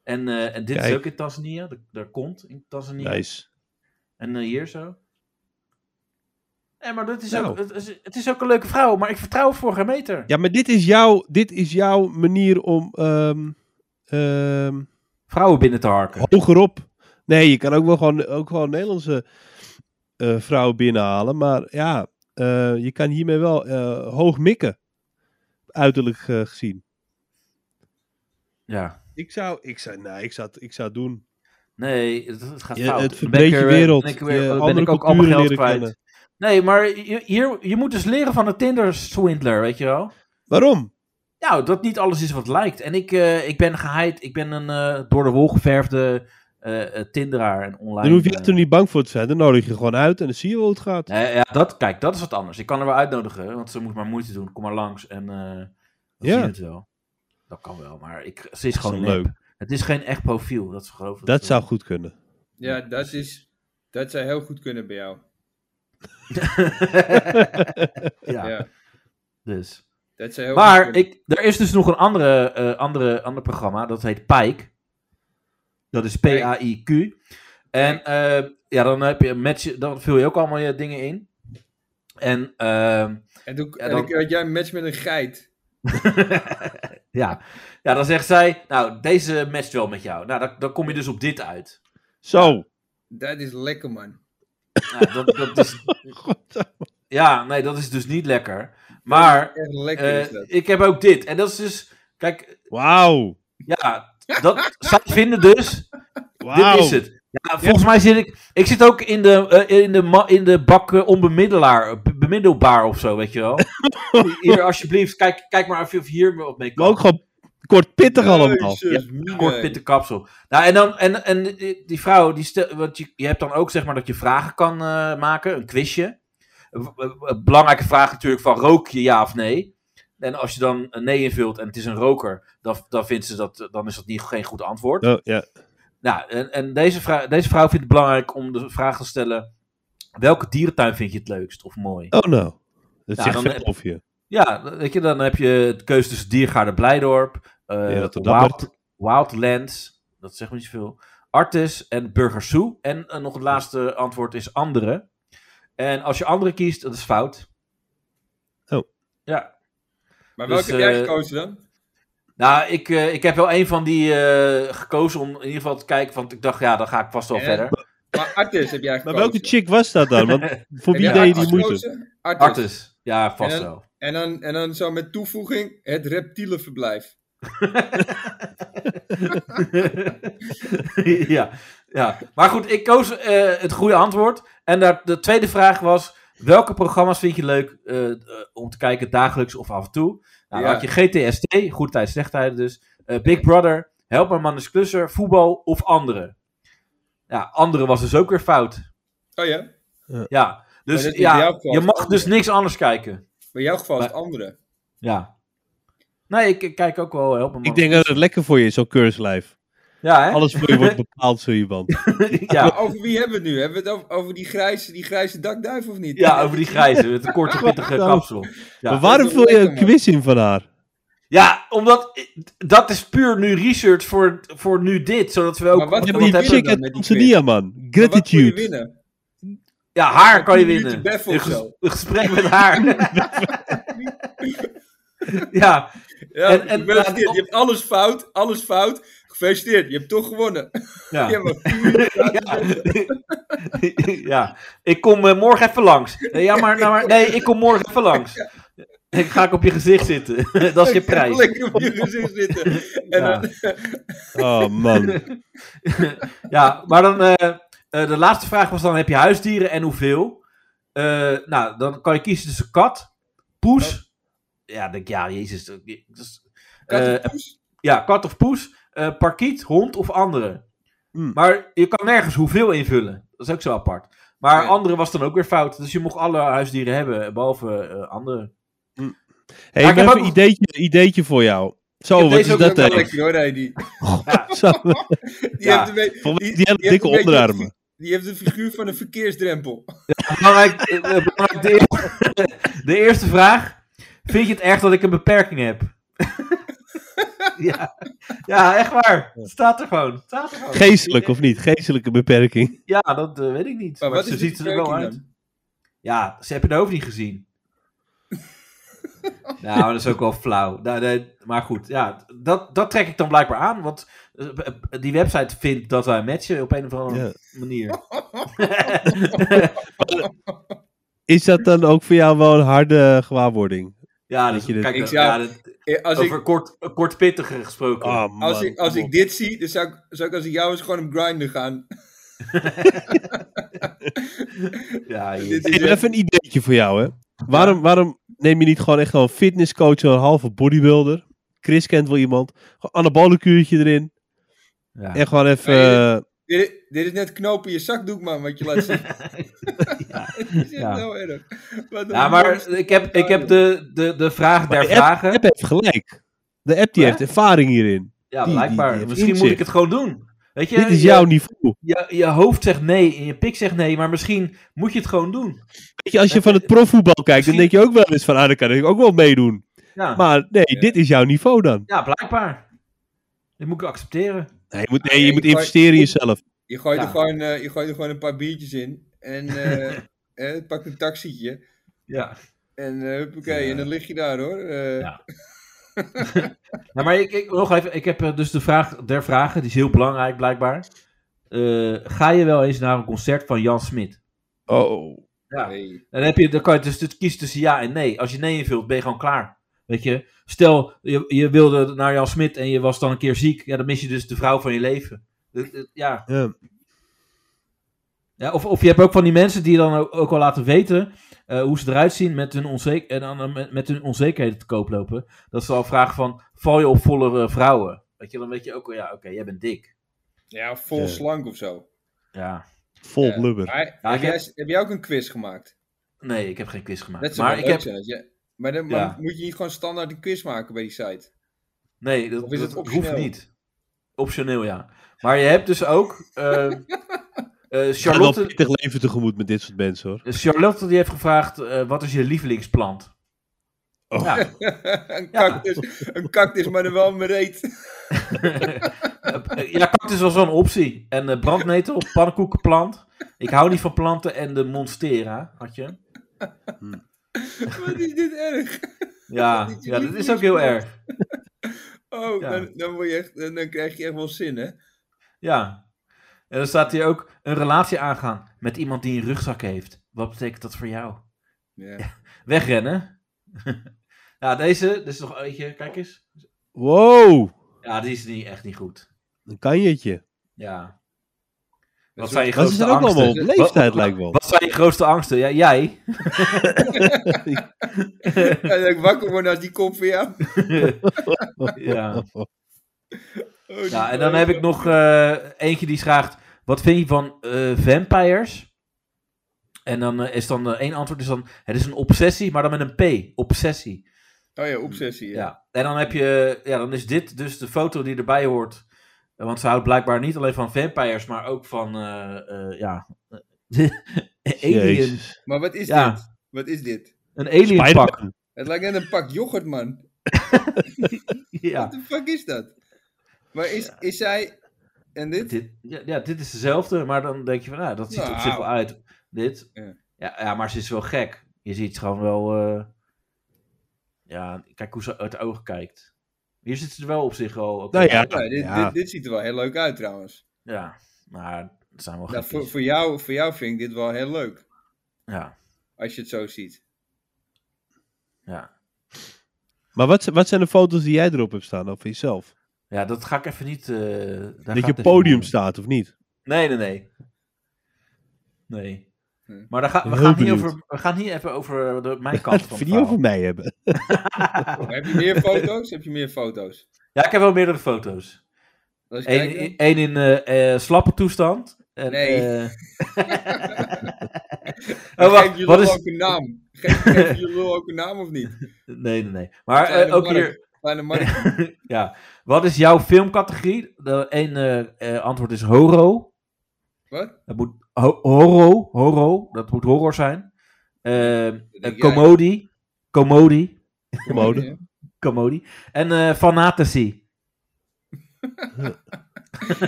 En, eh, en dit is Kijk. ook in Tanzania. Dat- Daar komt in Tanzania. Nice. En eh, hier zo. Nee, maar dat is Nou. ook, het, is, het is ook een leuke vrouw, maar ik vertrouw het voor geen meter. Ja, maar dit is jouw, dit is jouw manier om ehm, ehm, vrouwen binnen te harken. Hogerop. Nee, je kan ook wel gewoon, ook gewoon Nederlandse eh, vrouwen binnenhalen. Maar ja, eh, je kan hiermee wel eh, hoog mikken. Uiterlijk eh, gezien. Ja. Ik zou, ik zou, nou, ik zou, het- ik zou het doen. Nee, het, het gaat Je- fout. het Dan verbreedt ben ik je er- wereld. Ben ik, Je weer, dan ben andere ik ook allemaal culturen geld leren kwijt. kennen. Nee, maar je, hier, je moet dus leren van een Tinder-swindler, weet je wel? Waarom? Nou, dat niet alles is wat lijkt. En ik, eh, ik ben geheid, ik ben een eh, door de wol geverfde eh, eh, Tinderaar en online. Dan hoef je eh, echt er niet bang voor te zijn. Dan nodig je gewoon uit en dan zie je wel hoe het gaat. Nee, ja, dat, kijk, dat is wat anders. Ik kan er wel uitnodigen, want ze moet maar moeite doen. Kom maar langs en eh dan zie Ja. je het wel. Dat kan wel, maar ik, ze is Dat is gewoon wel leuk. Het is geen echt profiel, dat is geloof ik. Dat zou goed kunnen. Ja, dat, is, dat zou heel goed kunnen bij jou. ja, Ja. dus. dat zou heel goed Maar kunnen. ik, er is dus nog een andere, eh, andere, ander programma, dat heet Pike. Dat is P-A-I-Q. En eh, ja, dan, heb je, match, dan vul je ook allemaal je dingen in. En ehm, En toen Ja, en dan- dan had jij een match met een geit. ja. ja, dan zegt zij, nou, deze matcht wel met jou. Nou, dan, dan kom je dus op dit uit. Zo. Dat is lekker, man. Nou, dat, dat is, ja, nee, dat is dus niet lekker. Maar Echt lekker eh, is dat. ik heb ook dit. En dat is dus, kijk, Wauw. ja, dat, zij vinden dus Wauw. Dit is het. Ja, volgens mij zit ik. Ik zit ook in de, eh, in de, ma- in de bak eh, onbemiddelaar. eh, be- Bemiddelbaar of zo, weet je wel. Hier, alsjeblieft, kijk, kijk maar even of je hier wat mee kan. Maar ook gewoon kort pittig allemaal. Jezus, Ja, mine. Kort pitte kapsel. Nou, en, dan, en, en die die vrouw, die stel, want je, je hebt dan ook zeg maar dat je vragen kan eh, maken, een quizje. Een- een- een belangrijke vraag natuurlijk van rook je ja of nee? En als je dan een nee invult en het is een roker, dan, dan vindt ze dat, dan is dat niet, geen goed antwoord. Oh, ja. Nou, en, en deze, vrou- deze vrouw vindt het belangrijk om de vraag te stellen: welke dierentuin vind je het leukst of mooi? oh nou. Dat is Ja, echt dan- vet of je. Ja, weet je, dan heb je het keuze tussen Diergaarde Blijdorp, eh, Ja, dat- dat werd- Wild, Wildlands, dat zegt me niet zoveel, Artis en Burger Zoo. En eh, nog het laatste antwoord is andere. En als je andere kiest, dat is fout. Oh. Ja, Maar Dus, welke heb jij eh, gekozen dan? nou, ik, eh, ik heb wel een van die eh, gekozen om in ieder geval te kijken, want ik dacht, ja, dan ga ik vast wel Ja. verder. Maar Artis heb jij Maar gekozen. welke chick was dat dan? Want voor Heb wie jij deed je Artis die moeite? gekozen? Artis. Artis, ja, vast En dan- wel. En, dan, en dan zo met toevoeging het reptielenverblijf. ja, ja, maar goed, ik koos eh, het goede antwoord. En daar, de tweede vraag was: welke programma's vind je leuk eh, eh, om te kijken dagelijks of af en toe? Nou, dan Ja. had je GTST, Goed Tijd, Slecht Tijden dus. eh, Big Brother, Help mijn man is klusser, voetbal of andere. Ja, andere was dus ook weer fout. Oh ja? Ja, dus dat is bij jou ja, gewoon je mag andere. dus niks anders kijken. Bij jouw geval is het Maar- andere. Ja. Nee, ik, ik kijk ook wel Help mijn man. Ik denk dat het lekker voor je is, zo'n cursuslijf. Ja, hè? Alles voor je wordt bepaald zo iemand. ja. Maar over wie hebben we het nu? Hebben we het over, over die, grijze, die grijze dakduif of niet? Ja, over die grijze, met een korte pittige Nou. kapsel. Maar Ja. dat waarom is wel vul je een lekker, man. quiz in van haar? ja, omdat dat is puur nu research voor, voor nu dit, zodat we ook... Maar wat want Ja, heb maar dat hebben die we chick dan uit met die Tanzania, man. Maar wat moet je Gratitude. winnen? ja, haar kan je Tien minuten winnen. beffen Een, of ges- zo. een gesprek met haar. ja, Ja, En- en- gefeliciteerd. je hebt alles fout, alles fout. Gefeliciteerd, je hebt toch gewonnen. ja. Ja, ja. maar vier minuten ik kom eh, morgen even langs. Nee, Ja, maar, nou, maar nee, ik kom morgen even langs. Ik ga ik op je gezicht zitten. dat is je prijs. Lekker op je gezicht zitten. En Ja. dan, Oh, man. ja, maar dan. eh, eh, de laatste vraag was dan: heb je huisdieren en hoeveel? Eh, nou, dan kan je kiezen tussen kat, poes. Ja, denk ik, ja, jezus. dat- dat is- Kat eh, of poes? ja, kat of poes, eh, parkiet, hond of andere. Hmm. Maar je kan nergens hoeveel invullen. Dat is ook zo apart. Maar Ja. andere was dan ook weer fout. Dus je mocht alle huisdieren hebben, behalve eh andere. Maar Hey, ik ik heb heb een ook- ideetje, ideetje voor jou. Zo, heb wat deze is ook wel dat wel dan? lekker hoor, hij die. Zo, Die eh, Ja. heeft een beetje- volgens die- mij die Die heeft hele een dikke beetje- onderarmen. Die heeft een figuur van een verkeersdrempel. Belangrijk, eh, belangrijk de, eer- de eerste vraag. Vind je het erg dat ik een beperking heb? ja. ja, echt waar. Het staat er gewoon. Het staat er gewoon. Geestelijk of niet? Geestelijke beperking. Ja, dat eh, weet ik niet. Maar Maar wat ze is die ziet er wel beperking uit. Ja, ze hebben de hoofd niet gezien. Nou, maar dat is ook wel flauw. Nou, nee, maar goed, ja, dat, dat trek ik dan blijkbaar aan. Want eh, eh, die website vindt dat wij matchen op een of andere Ja. manier. Is dat dan ook voor jou wel een harde gewaarwording? Ja, Weet dus, je dit? kijk, Ik dat- zou- ja, dat- Eh, Als over ik, kort, kort pittiger gesproken. Ah, man, als ik, als kom ik op. dit zie, dan zou ik, zou ik als ik jou is gewoon op grinden gaan. ja, je- dit is Hey, echt- even een ideetje voor jou, hè. Waarom, waarom neem je niet gewoon echt wel een fitnesscoach, een halve bodybuilder? Chris kent wel iemand. Gewoon anabole kuurtje erin. ja. En gewoon even... Nee, eh, Dit, dit is net knopen in je zakdoek, man, wat je laat zien. Het is echt Ja. heel erg. Wat een Ja, maar monster. ik heb, ik heb de, de, de vraag der de app- vragen. app heeft gelijk. De app die Ja? heeft ervaring hierin. ja, die- die- blijkbaar. die heeft Misschien moet ik inzicht. het gewoon doen. Weet je, Dit is je- jouw niveau. Je, je hoofd zegt nee en je pik zegt nee, maar misschien moet je het gewoon doen. Weet je, als je Eh, van het profvoetbal kijkt, dan misschien- denk je ook wel eens van, ah, dan kan ik ook wel meedoen. Ja, Maar nee, Ja. dit is jouw niveau dan. ja blijkbaar. Dit moet ik accepteren. Nee, je moet, Ah, nee, je ja, moet ik- investeren in jezelf. Je gooit, Ja. er gewoon, eh, je gooit er gewoon een paar biertjes in. En eh, eh, pakt een taxietje. Ja. En eh huppakee, Ja. en dan lig je daar hoor. Eh, Ja. Nou, maar ik, ik, nog even, ik heb eh, dus de vraag der vragen, die is heel belangrijk blijkbaar. Eh, ga je wel eens naar een concert van Jan Smit? Oh. Ja. nee. Dan, heb je, dan kan je dus dus kiezen tussen ja en nee. Als je nee invult, ben je gewoon klaar. Weet je, stel je, je wilde naar Jan Smit en je was dan een keer ziek. Ja, dan mis je dus de vrouw van je leven. Dat- dat- Ja, Ja. Ja, of, of je hebt ook van die mensen die dan ook, ook al laten weten eh, hoe ze eruit zien met hun, onzeker, en dan, eh, met, met hun onzekerheden te koop lopen. Dat ze al vragen van, val je op vollere vrouwen? Weet je, dan weet je ook, wel, ja, oké, jij bent dik. Ja, vol Ja. slank of zo. Ja, Vol Ja. blubber. Maar, Ja, heb, ik heb- jij, heb jij ook een quiz gemaakt? nee, ik heb geen quiz gemaakt. Dat zou maar wel ik leuk heb, zijn. als je- maar dan Ja. maar moet je niet gewoon standaard een quiz maken bij die site. nee, dat, Of is dat het optioneel? hoeft niet. Optioneel, ja. Maar je hebt dus ook, eh, eh, Ik ga wel een Charlotte, pittig leven tegemoet met dit soort mensen, hoor. Charlotte die heeft gevraagd, eh, wat is je lievelingsplant? Oh. Ja, een, Ja. cactus, een cactus, maar dan wel een reet. ja, cactus was wel een optie. En eh, brandnetel, pannenkoekenplant. Ik hou niet van planten en de monstera, had je. Wat is dit erg? Ja, Niet je ja dat is ook heel erg. Oh, Ja. dan, dan, word je echt, dan, dan krijg je echt wel zin, hè? Ja. En dan staat hier ook een relatie aangaan met iemand die een rugzak heeft. Wat betekent dat voor jou? Ja. Wegrennen? ja, deze, dit is nog eentje, kijk eens. Wow. Ja, die is niet, echt niet goed. Een kanjetje. Ja. Dat Wat zijn je Wat is grootste er ook allemaal op angsten? leeftijd, Wat- lijkt wel. Wat zijn je grootste angsten? Ja, jij? En dat ik wakker word als die kop van jou. ja. oh. Oh, die Ja, en dan heb ik nog eh, eentje die vraagt: wat vind je van eh, vampires? En dan eh, is dan eh, één antwoord is dan: het is een obsessie, maar dan met een P, obsessie. Oh ja, obsessie. Ja. Ja. En dan heb je, ja, dan is dit dus de foto die erbij hoort. Eh, Want ze houdt blijkbaar niet alleen van vampires, maar ook van, eh, eh, ja, alien, Jezus. Maar wat is Ja. dit? Wat is dit? een alien pak. Spider-Man. Het lijkt net een pak yoghurt, man. Ja. Wat de fuck is dat? Maar is, is zij... En dit? Dit, ja, ja, dit is dezelfde, maar dan denk je van, nou, dat ziet er op zich wel uit. Dit. Ja. Ja. Ja, maar ze is wel gek. Je ziet gewoon wel, eh, ja, kijk hoe ze uit de ogen kijkt. Hier zit ze er wel op zich al. oké. Nou ja. Ja, dit, Ja. Dit, dit ziet er wel heel leuk uit, trouwens. Ja, maar het zijn wel Nou, gek. voor, voor, jou, voor jou vind ik dit wel heel leuk. Ja, Als je het zo ziet. ja. Maar wat, z- wat zijn de foto's die jij erop hebt staan, of van jezelf? ja, dat ga ik even niet... eh, daar ga ik dat je op even podium niet- staat, of niet? Nee, nee, nee. Nee. Hm. Maar daar ga, we, Heel gaan niet benieuwd. over, we gaan niet even over eh, de, mijn kant Dat van vind het je over verhaal. mij hebben. Maar heb je meer foto's? heb je meer foto's? Ja, ik heb wel meerdere foto's. Laat eens Eén kijken. in, één in eh, eh, slappe toestand. En, Nee. eh, Maar oh, wacht. Geef je Wat lul is... ook een naam? Geef, geef je lul ook een naam of niet? Nee, nee, nee. Maar Kleine eh, ook Mark. hier... Kleine Mark. ja. Wat is jouw filmcategorie? Eén eh, antwoord is horror. Wat? Dat moet... ho- horror. Horror. Dat moet horror zijn. Eh, eh, Dat denk comodie. Comodie. jij. mode. Comodie. En eh fantasy.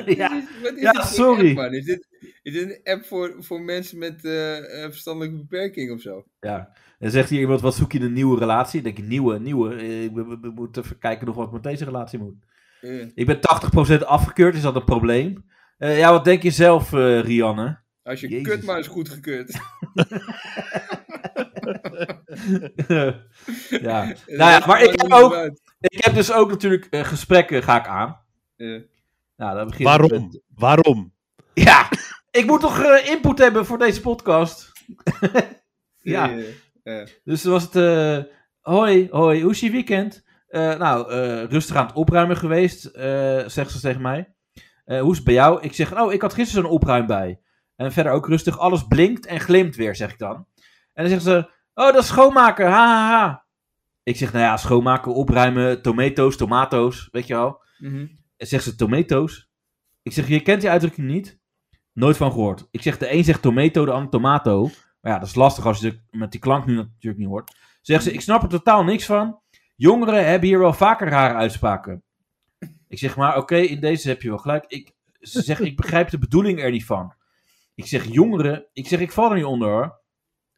ja. Dit is- wat is Ja, dit voor sorry. app, man? Is dit, is dit een app voor, voor mensen met eh, eh, verstandelijke beperking of zo? ja. En zegt hier iemand, wat zoek je in een nieuwe relatie? Ik denk, nieuwe, nieuwe. Eh, Ik we- we- we moeten even kijken nog wat ik met deze relatie moet. Eh, Ik ben 80% afgekeurd, is dat een probleem? Eh, ja, wat denk je zelf, eh, Rianne? als je Jezus. kut maar Eh, is goed gekeurd. ja. Nou ja, maar ik heb, ook, ik heb dus ook natuurlijk eh, gesprekken ga ik aan. Ja. Nou, dan begin ik met- Waarom? Waarom? Ja, ik moet toch eh, input hebben voor deze podcast? ja. Eh, Dus toen was het. eh, hoi, hoi, hoe is je weekend? Eh, nou, eh, rustig aan het opruimen geweest, eh, zegt ze tegen mij. Eh, hoe is het bij jou? Ik zeg, oh, ik had gisteren zo'n opruim bij. En verder ook rustig, alles blinkt en glimt weer, zeg ik dan. En dan zegt ze, oh, dat is schoonmaken, ha, ha, ha. Ik zeg, nou ja, schoonmaken, opruimen, tomato's, tomato's, weet je wel. mhm. En zegt ze, tomato's? Ik zeg, je kent die uitdrukking niet? Nooit van gehoord. Ik zeg, de een zegt tomato, de ander tomato. Maar ja, dat is lastig als je de- met die klank nu natuurlijk niet hoort. Zegt ze, ik snap er totaal niks van. Jongeren hebben hier wel vaker rare uitspraken. Ik zeg, maar oké, in deze heb je wel gelijk. Ik, ze zegt, ik begrijp de bedoeling er niet van. Ik zeg, jongeren, ik zeg, ik val er niet onder hoor.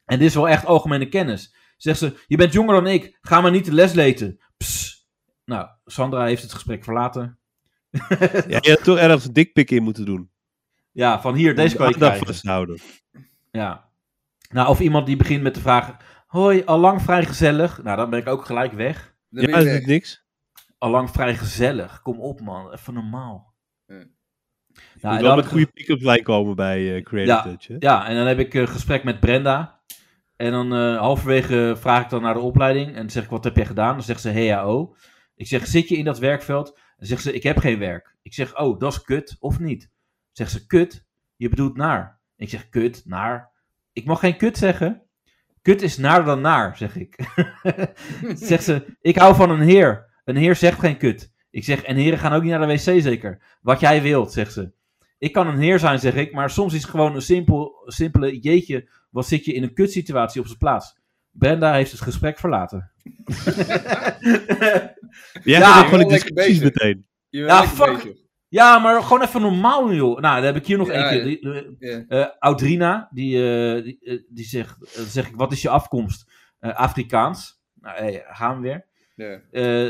En dit is wel echt algemene kennis. Zegt ze, je bent jonger dan ik, ga maar niet de les leten. Psst. Nou, Sandra heeft het gesprek verlaten. Ja, je had toch ergens een dikpik in moeten doen. Ja, van hier, deze Om kan de je aandacht krijgen. vasthouden. Ja. Nou, of iemand die begint met de vraag... Hoi, allang vrijgezellig. Nou, dan ben ik ook gelijk weg. Dan Ja, ben is je het weg. niks? Allang vrijgezellig. Kom op, man. Even normaal. Hm. Nou, Je en moet dan wel heb met ik- goede pick-up lijn komen bij eh Creative Ja. Touch, hè? Ja, en dan heb ik een gesprek met Brenda. En dan eh, halverwege vraag ik dan naar de opleiding. En dan zeg ik, wat heb jij gedaan? Dan zegt ze, HAO. Ik zeg, zit je in dat werkveld? Dan zegt ze, ik heb geen werk. Ik zeg, oh, dat is kut, of niet? Dan Zegt ze, kut? Je bedoelt naar. Ik zeg, kut, naar. Ik mag geen kut zeggen. Kut is naar dan naar, zeg ik. zegt ze, ik hou van een heer. Een heer zegt geen kut. Ik zeg, en heren gaan ook niet naar de wc zeker. Wat jij wilt, zegt ze. Ik kan een heer zijn, zeg ik, maar soms is gewoon een simpel, simpele jeetje. Wat zit je in een kutsituatie op zijn plaats? Brenda heeft het gesprek verlaten. Jij Ja, gaat ook wel gewoon in lekker discussies bezig. meteen. Je Ja, ja, fuck. ja, maar gewoon even normaal, joh. Nou, dan heb ik hier nog Ja, eentje. ja. Die, eh, Ja. eh, Audrina, die, eh, die, eh, die zegt, eh, dan zeg ik, wat is je afkomst? Eh, Afrikaans. Nou, hey, gaan we weer. Ja. Eh,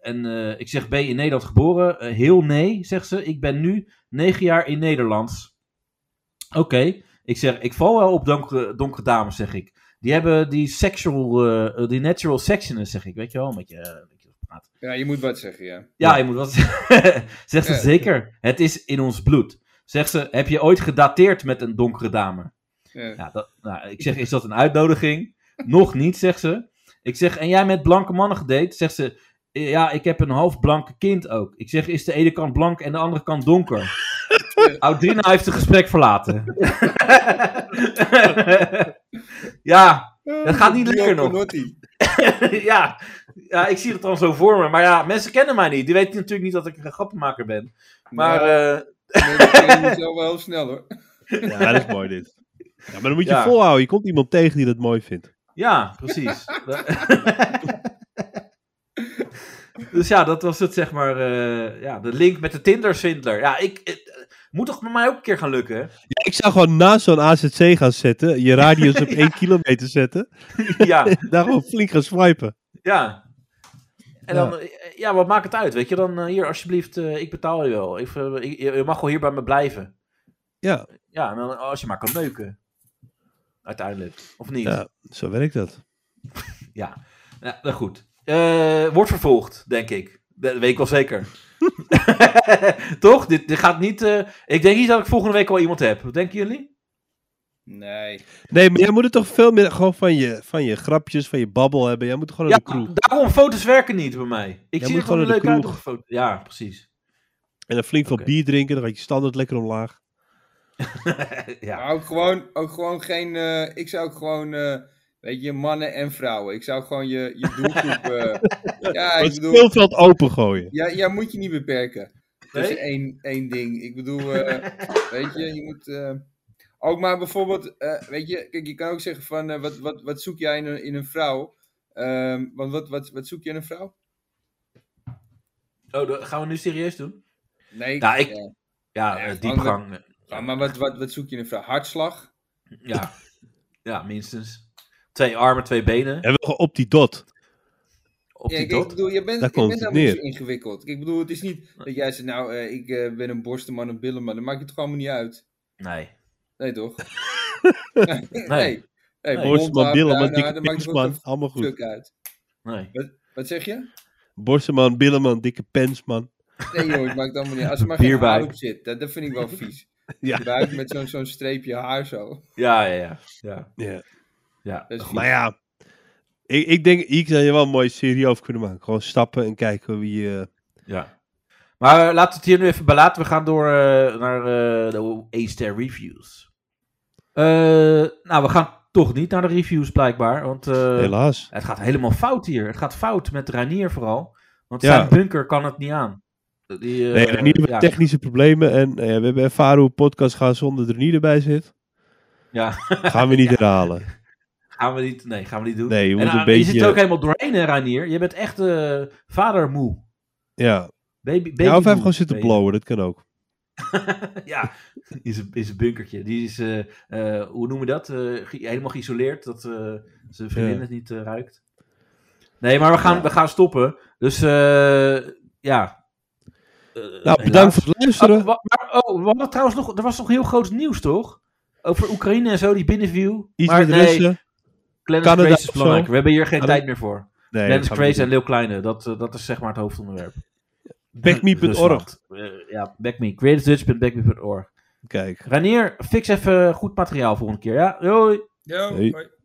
en eh, ik zeg, ben je in Nederland geboren? Eh, heel nee, zegt ze. Ik ben nu negen jaar in Nederland. Oké. Ik zeg, ik val wel op donkere, donkere dames, zeg ik. Die hebben die sexual, eh, eh, die natural sexiness, zeg ik. Weet je wel, met je, eh, met je praat. ja, je moet wat zeggen, ja. Ja, je moet wat Zegt ze Ja. zeker. Het is in ons bloed. Zegt ze, heb je ooit gedateerd met een donkere dame? Ja. Ja, dat, nou, ik zeg, is dat een uitnodiging? Nog niet, zegt ze. Ik zeg, en jij met blanke mannen gedate? Zegt ze, "Eh, ja, ik heb een half blanke kind ook. Ik zeg, is de ene kant blank en de andere kant donker? Audrina heeft het gesprek verlaten. ja, Dat gaat niet Dio lekker nog. Panotti. ja. ja, ik zie het dan zo voor me. Maar ja, mensen kennen mij niet. Die weten natuurlijk niet dat ik een grappenmaker ben. Maar eh, Nou, nee, dat ging zelf wel heel snel hoor. Ja, dat is mooi dit. Ja, maar dan moet je Ja. volhouden. Je komt iemand tegen die dat mooi vindt. ja, precies. dus ja, dat was het, zeg maar. eh, ja, de link met de Tinder-swindler. Ja, ik, het, eh, moet toch bij mij ook een keer gaan lukken? hè? Ja, ik zou gewoon naast zo'n AZC gaan zetten. Je radius op 1 kilometer zetten. ja, Daar gewoon flink gaan swipen. ja. En dan, eh, ja, wat maakt het uit, weet je? Dan eh, hier, alsjeblieft, eh, ik betaal je wel. Ik, eh, ik- je mag wel hier bij me blijven. Ja. Ja, en dan, als je maar kan neuken. Uiteindelijk. Of niet? Ja, zo werkt dat. Ja, nou goed. Eh, wordt vervolgd, denk ik. Dat weet ik wel zeker. Toch? Dit, dit gaat niet. eh, ik denk niet dat ik volgende week al iemand heb. Wat denken jullie? Nee. Nee, maar jij moet het toch veel meer gewoon van je, van je grapjes, van je babbel hebben. Jij moet gewoon Ja, naar de kroeg. daarom foto's werken niet bij mij. Ik Jij zie moet er gewoon een gewoon leuke naar uit de kroeg. op een foto. Ja, precies. En dan flink Oké. wat bier drinken. Dan gaat je standaard lekker omlaag. ja. Maar ook gewoon, ook gewoon geen. eh, ik zou ook gewoon. eh, weet je, mannen en vrouwen. Ik zou gewoon je, je doelgroep. eh, ja, ik Het bedoel. speelveld opengooien. Ja, ja, moet je niet beperken. Dat is Nee? Dus één, één ding. Ik bedoel, eh, weet je, je moet. eh, ook maar bijvoorbeeld, eh, weet je, kijk, je kan ook zeggen van. eh, wat, wat, wat zoek jij in een, in een vrouw? Ehm, want wat, wat, wat zoek je in een vrouw? Oh, dat gaan we nu serieus doen? Nee, Nou, Ja, ik- ja. Ja, Ja, eh, diepgang. Ja, maar wat, wat, wat zoek je in een vrouw? Hartslag? Ja. ja, minstens. Twee armen, twee benen. En wel op die dot. Op Ja, die kijk, ik dot. bedoel, je bent, Daar je bent komt het helemaal niet zo ingewikkeld. Ik bedoel, het is niet dat jij zegt, nou, eh, ik eh, ben een borstenman, een billenman. Dat maakt je toch allemaal niet uit? Nee. Nee, toch? nee. Nee. Nee, Nee. Borstenman, Billeman, daarna, dikke dat maakt pens, toch man. ook Allemaal een goed. stuk uit. Nee. Wat zeg je? Borstenman, Billeman, dikke pens, man. Nee joh, het maakt allemaal niet uit. Als er maar geen Bierbuik. haar op zit, dat, dat vind ik wel vies. Ja. Buik met zo'n zo'n streepje haar zo. Ja, ja, ja. ja. Ja. ja. Dat is vies. Maar ja, ik, ik denk, ik zou je wel een mooie serie over kunnen maken. Gewoon stappen en kijken wie... eh, Ja. Maar eh, laten we het hier nu even bij laten. We gaan door eh, naar eh, de A-Star Reviews. Eh, nou, we gaan toch niet naar de reviews blijkbaar. Want eh, helaas. het gaat helemaal fout hier. Het gaat fout met Reinier vooral. Want Ja. zijn bunker kan het niet aan. Die, eh, Nee, Renier heeft ja, technische problemen. En eh, we hebben ervaren hoe podcast gaat zonder Renier erbij zit. ja. Gaan we niet herhalen. Gaan we niet, nee, gaan we niet doen. Nee, je moet en, een ah, beetje- Je zit er ook helemaal doorheen, hè, Reinier? Je bent echt eh vadermoe. Ja, Baby, baby ja of hij heeft gewoon zitten blowen. blowen. Dat kan ook. ja, is een, is een bunkertje. Die is, eh, eh, hoe noemen we dat? Eh, ge- helemaal geïsoleerd, dat eh, zijn vriendin Ja. het niet eh, ruikt. Nee, maar we gaan, we gaan stoppen. Dus eh, ja. Eh, Nou, helaas. bedankt voor het Oh, luisteren. wa- maar, oh, we hadden trouwens nog, er was nog heel groot nieuws, toch? Over Oekraïne en zo, die binnenview. Iets maar met nee, Russen. Glennis Canada Grace is of zo. belangrijker. We hebben hier geen Canada- tijd meer voor. Nee, Lens dat gaan we Crazy en niet Leeuw Kleine, dat, eh, dat is zeg maar het hoofdonderwerp. doen. Backme.org. Rusland. Eh, ja, backme. Greatestdutch.backme.org. Kijk. Ranier, fix even goed materiaal volgende keer, ja? Doei! Yo, Hey. hoi.